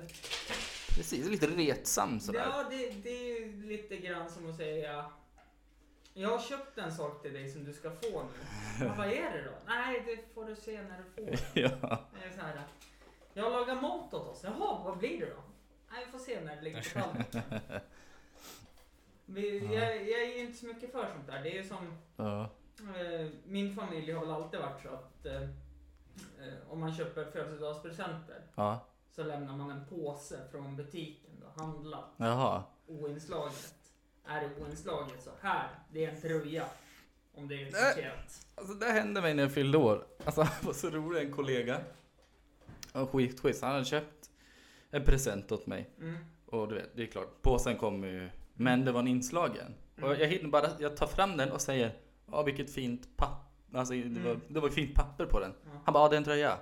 [SPEAKER 3] precis. Lite retsam sådär.
[SPEAKER 2] Ja, det, det är ju lite grann som att säga... Jag har köpt en sak till dig som du ska få nu. Men vad är det då? Nej, det får du se när du får den.
[SPEAKER 3] Ja.
[SPEAKER 2] Det är så här, jag lagar mat åt oss. Jaha, vad blir det då? Nej, vi får se när det ligger på tallriken. Vi- Jag, jag är ju inte så mycket för sånt där. Det är ju som...
[SPEAKER 3] Ja.
[SPEAKER 2] Eh, Min familj har väl alltid varit så att eh, eh, om man köper födelsedagspresenter
[SPEAKER 3] ja.
[SPEAKER 2] så lämnar man en påse från butiken då, handlat,
[SPEAKER 3] Jaha.
[SPEAKER 2] oinslaget. Är det oinslaget så här, det är en tröja. Om det är ett paket.
[SPEAKER 3] Alltså det hände mig när jag fyllde år. Alltså han var så rolig, en kollega. En skitschysst. Han hade köpt en present åt mig.
[SPEAKER 2] Mm.
[SPEAKER 3] Och du vet, det är klart, påsen kommer ju. Men det var en inslagen. Och
[SPEAKER 2] Mm.
[SPEAKER 3] jag hinner bara, jag tar fram den och säger Ja vilket fint papper, alltså det var,
[SPEAKER 2] Mm.
[SPEAKER 3] det var ju fint papper på den.
[SPEAKER 2] Ja.
[SPEAKER 3] Han bara, ja det är en tröja.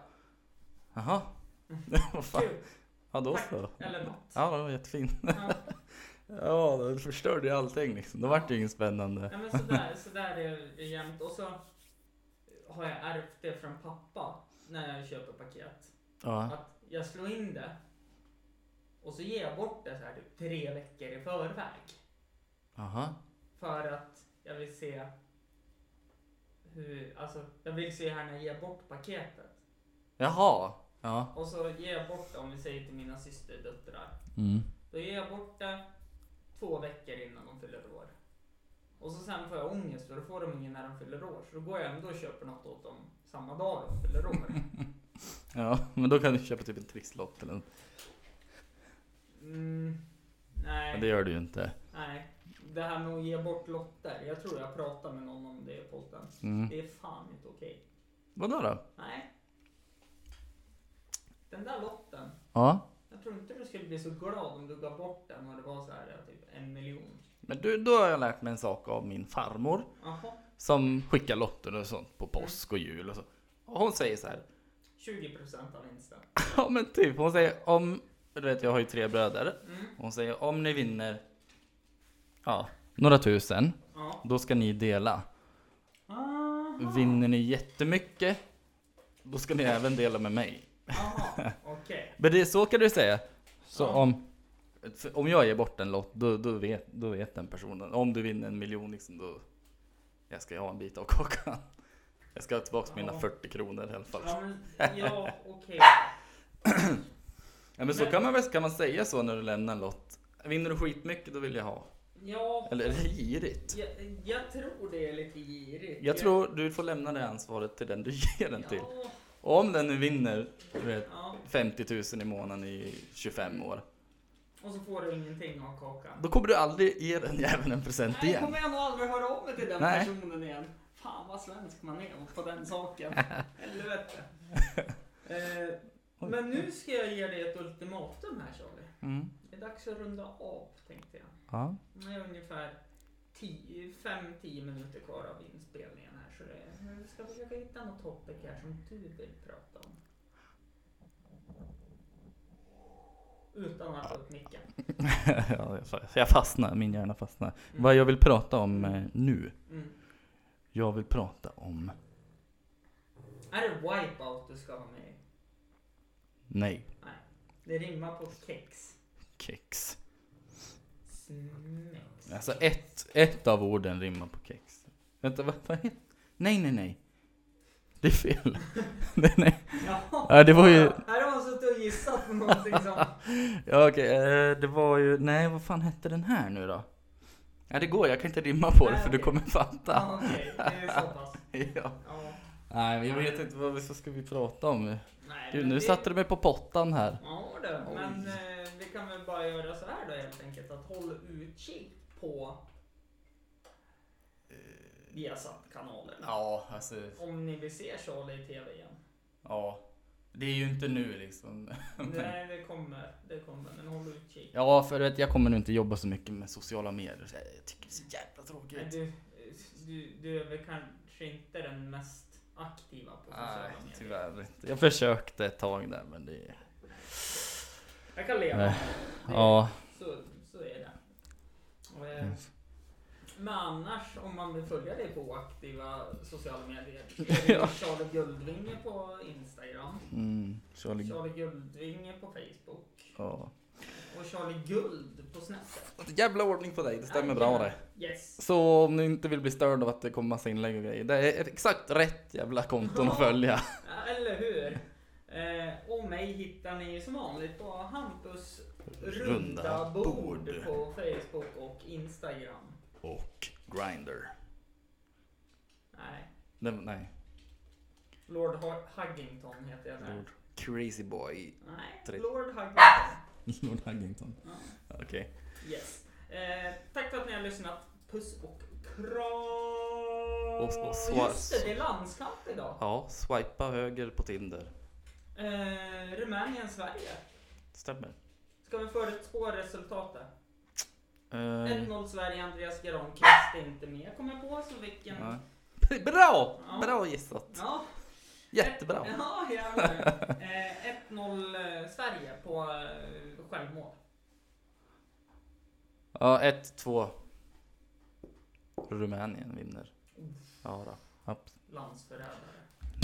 [SPEAKER 3] Jaha. Vad fan,
[SPEAKER 2] Kul,
[SPEAKER 3] ja då
[SPEAKER 2] tack.
[SPEAKER 3] så.
[SPEAKER 2] eller något.
[SPEAKER 3] Ja den var jättefin.
[SPEAKER 2] Ja,
[SPEAKER 3] Ja, det förstörde ju allting liksom. Då vart det ju inget spännande.
[SPEAKER 2] ja, men sådär, sådär är det jämt. Och så har jag ärvt det från pappa när jag köper paket.
[SPEAKER 3] Ja.
[SPEAKER 2] att jag slår in det och så ger jag bort det så här typ tre veckor i förväg
[SPEAKER 3] Jaha.
[SPEAKER 2] för att jag vill se hur, alltså jag vill se här när jag ger bort paketet
[SPEAKER 3] Jaha. Ja.
[SPEAKER 2] och så ger jag bort det om vi säger till mina systerdöttrar
[SPEAKER 3] Mm.
[SPEAKER 2] då ger jag bort det två veckor innan de fyller år och så sen får jag ångest för då får de ingen när de fyller år så då går jag ändå och köper något åt dem samma dag de fyller år
[SPEAKER 3] Ja, men då kan du köpa typ en trisslott eller något.
[SPEAKER 2] mm,
[SPEAKER 3] Men
[SPEAKER 2] nej
[SPEAKER 3] det gör du ju inte.
[SPEAKER 2] Nej, det här med att ge bort lotter. Jag tror jag pratade med någon om det i podden.
[SPEAKER 3] Mm.
[SPEAKER 2] Det är fan inte okej.
[SPEAKER 3] Vadå då?
[SPEAKER 2] Nej. Den där lotten.
[SPEAKER 3] Ja.
[SPEAKER 2] Jag tror inte du skulle bli så glad om du gav bort den och det var så här, ja, typ en miljon.
[SPEAKER 3] Men du, då har jag lärt mig en sak av min farmor.
[SPEAKER 2] Jaha,
[SPEAKER 3] Som skickar lotter och sånt på påsk och jul och så. Och hon säger så här.
[SPEAKER 2] 20 procent av vinsten.
[SPEAKER 3] Ja men typ, hon säger om, du vet jag har ju tre bröder.
[SPEAKER 2] Mm.
[SPEAKER 3] Hon säger om ni vinner, ja, några tusen,
[SPEAKER 2] Ja.
[SPEAKER 3] då ska ni dela.
[SPEAKER 2] Aha.
[SPEAKER 3] Vinner ni jättemycket, då ska ni även dela med mig.
[SPEAKER 2] Jaha, okej.
[SPEAKER 3] Men det, så kan du säga. Så
[SPEAKER 2] Ja.
[SPEAKER 3] om, för om jag ger bort en lott, då, då, vet, då vet den personen. Om du vinner en miljon, liksom, då jag ska ha en bit av kakan. Jag ska ha tillbaka mina
[SPEAKER 2] Ja.
[SPEAKER 3] 40 kronor i alla fall.
[SPEAKER 2] Ja,
[SPEAKER 3] Ja,
[SPEAKER 2] men, ja okej.
[SPEAKER 3] men så
[SPEAKER 2] men-
[SPEAKER 3] kan man väl kan man säga så när du lämnar en lott. Vinner du skitmycket, då vill jag ha.
[SPEAKER 2] Ja,
[SPEAKER 3] Eller är det girigt?
[SPEAKER 2] jag, jag tror det är lite girigt.
[SPEAKER 3] Jag tror du får lämna det ansvaret till den du ger den till.
[SPEAKER 2] Ja,
[SPEAKER 3] Och om den nu vinner du vet,
[SPEAKER 2] ja.
[SPEAKER 3] 50 000 i månaden i 25 år,
[SPEAKER 2] Och så får du ingenting av kakan.
[SPEAKER 3] då kommer du aldrig ge den jäveln en present
[SPEAKER 2] Nej,
[SPEAKER 3] igen.
[SPEAKER 2] kommer jag nog aldrig höra av mig till den
[SPEAKER 3] Nej.
[SPEAKER 2] personen igen. Fan vad svensk man är på den saken. Helvete. Eh, men nu ska jag ge dig ett ultimatum här Charlie.
[SPEAKER 3] Mm.
[SPEAKER 2] Det är dags att runda av tänkte jag.
[SPEAKER 3] Ja.
[SPEAKER 2] Nu är det ungefär 5-10 minuter kvar av inspelningen här så det, vi ska försöka hitta något topic här som du vill prata om. Utan att ta upp micken.
[SPEAKER 3] Ja, jag- jag fastnar, min hjärna fastnar. Vad jag vill prata om eh, nu?
[SPEAKER 2] Mm.
[SPEAKER 3] Jag vill prata om...
[SPEAKER 2] Är det wipeout du ska ha med?
[SPEAKER 3] Nej,
[SPEAKER 2] Nej. Det rimmar på kex.
[SPEAKER 3] kex.
[SPEAKER 2] Smäcks.
[SPEAKER 3] Alltså ett, ett av orden rimmar på kex. Vänta, vad, vad heter... Nej, nej, nej. Det är fel. nej, nej.
[SPEAKER 2] Ja.
[SPEAKER 3] Ja, det var ju...
[SPEAKER 2] Här har man suttit och gissat på någonting som...
[SPEAKER 3] Ja, okej. eh, det var ju... Nej, vad fan hette den här nu då? Ja, det går. Jag kan inte rimma på det
[SPEAKER 2] Nej,
[SPEAKER 3] för du
[SPEAKER 2] okej.
[SPEAKER 3] kommer fatta.
[SPEAKER 2] Ja, Okej, det är så pass.
[SPEAKER 3] ja.
[SPEAKER 2] Ja.
[SPEAKER 3] Nej, men jag vet inte vad vi vad ska vi prata om.
[SPEAKER 2] Nej,
[SPEAKER 3] Gud,
[SPEAKER 2] men
[SPEAKER 3] nu
[SPEAKER 2] det-
[SPEAKER 3] satte du mig på pottan här.
[SPEAKER 2] Ja du,
[SPEAKER 3] Oj.
[SPEAKER 2] men eh, vi kan väl bara göra så här då helt enkelt att håll utkik på Viasat-kanalerna.
[SPEAKER 3] Eh. Ja, alltså...
[SPEAKER 2] Om ni vill se Charlie i TV igen.
[SPEAKER 3] Ja, det är ju inte nu liksom.
[SPEAKER 2] Nej, det kommer, det kommer, men håll utkik.
[SPEAKER 3] Ja, för du vet, jag kommer nog inte jobba så mycket med sociala medier. Så jag tycker det är så jävla
[SPEAKER 2] Men
[SPEAKER 3] tråkigt.
[SPEAKER 2] du, du, du är väl kanske inte den mest aktiva på sociala
[SPEAKER 3] Nej,
[SPEAKER 2] medier.
[SPEAKER 3] tyvärr inte. Jag försökte ett tag där, men det...
[SPEAKER 2] Jag kan leva
[SPEAKER 3] Nej.
[SPEAKER 2] med det.
[SPEAKER 3] Ja.
[SPEAKER 2] Så, så är det. Och, eh, Men annars, om man vill följa dig på aktiva sociala medier, är det
[SPEAKER 3] Ja.
[SPEAKER 2] Charlie Guldvinge på Instagram,
[SPEAKER 3] Mm, Charlie...
[SPEAKER 2] Charlie Guldvinge på Facebook
[SPEAKER 3] Ja.
[SPEAKER 2] och Charlie Guld på Snapchat.
[SPEAKER 3] Jävla ordning på dig, det stämmer bra det.
[SPEAKER 2] Yes.
[SPEAKER 3] Så om ni inte vill bli störd av att det kommer massa inlägg och grejer. Det är exakt rätt jävla konton att följa.
[SPEAKER 2] Ja, Eller hur? Eh, och mig hittar ni som vanligt på Hampus runda
[SPEAKER 3] Runda
[SPEAKER 2] bord
[SPEAKER 3] Bord.
[SPEAKER 2] på Facebook och Instagram.
[SPEAKER 3] Och Grinder.
[SPEAKER 2] Nej,
[SPEAKER 3] Nej, nej.
[SPEAKER 2] Lord Har- Huggington heter jag där.
[SPEAKER 3] Lord. Crazy boy.
[SPEAKER 2] Nej,
[SPEAKER 3] Tre-
[SPEAKER 2] Lord Huggington.
[SPEAKER 3] Lord Huggington.
[SPEAKER 2] Ja.
[SPEAKER 3] Okej.
[SPEAKER 2] Yes. Eh, tack för att ni har lyssnat. Puss och kram!
[SPEAKER 3] Och- och svar-
[SPEAKER 2] Just det, det är landskamp idag.
[SPEAKER 3] Ja, swipa höger på Tinder.
[SPEAKER 2] Eh, Rumänien-Sverige.
[SPEAKER 3] Stämmer.
[SPEAKER 2] Ska vi förutspå resultatet?
[SPEAKER 3] Eh,
[SPEAKER 2] 1-0 Sverige, Andreas Granqvist är inte med kommer jag på, så vilken...
[SPEAKER 3] ja.
[SPEAKER 2] Ja.
[SPEAKER 3] Bra!
[SPEAKER 2] Ja.
[SPEAKER 3] Bra gissat. Jättebra.
[SPEAKER 2] Ja, jävlar. Eh, 1-0 eh, Sverige på eh, självmål.
[SPEAKER 3] Ja, 1-2. Rumänien vinner. Ja då. Abs-
[SPEAKER 2] Landsförrädare.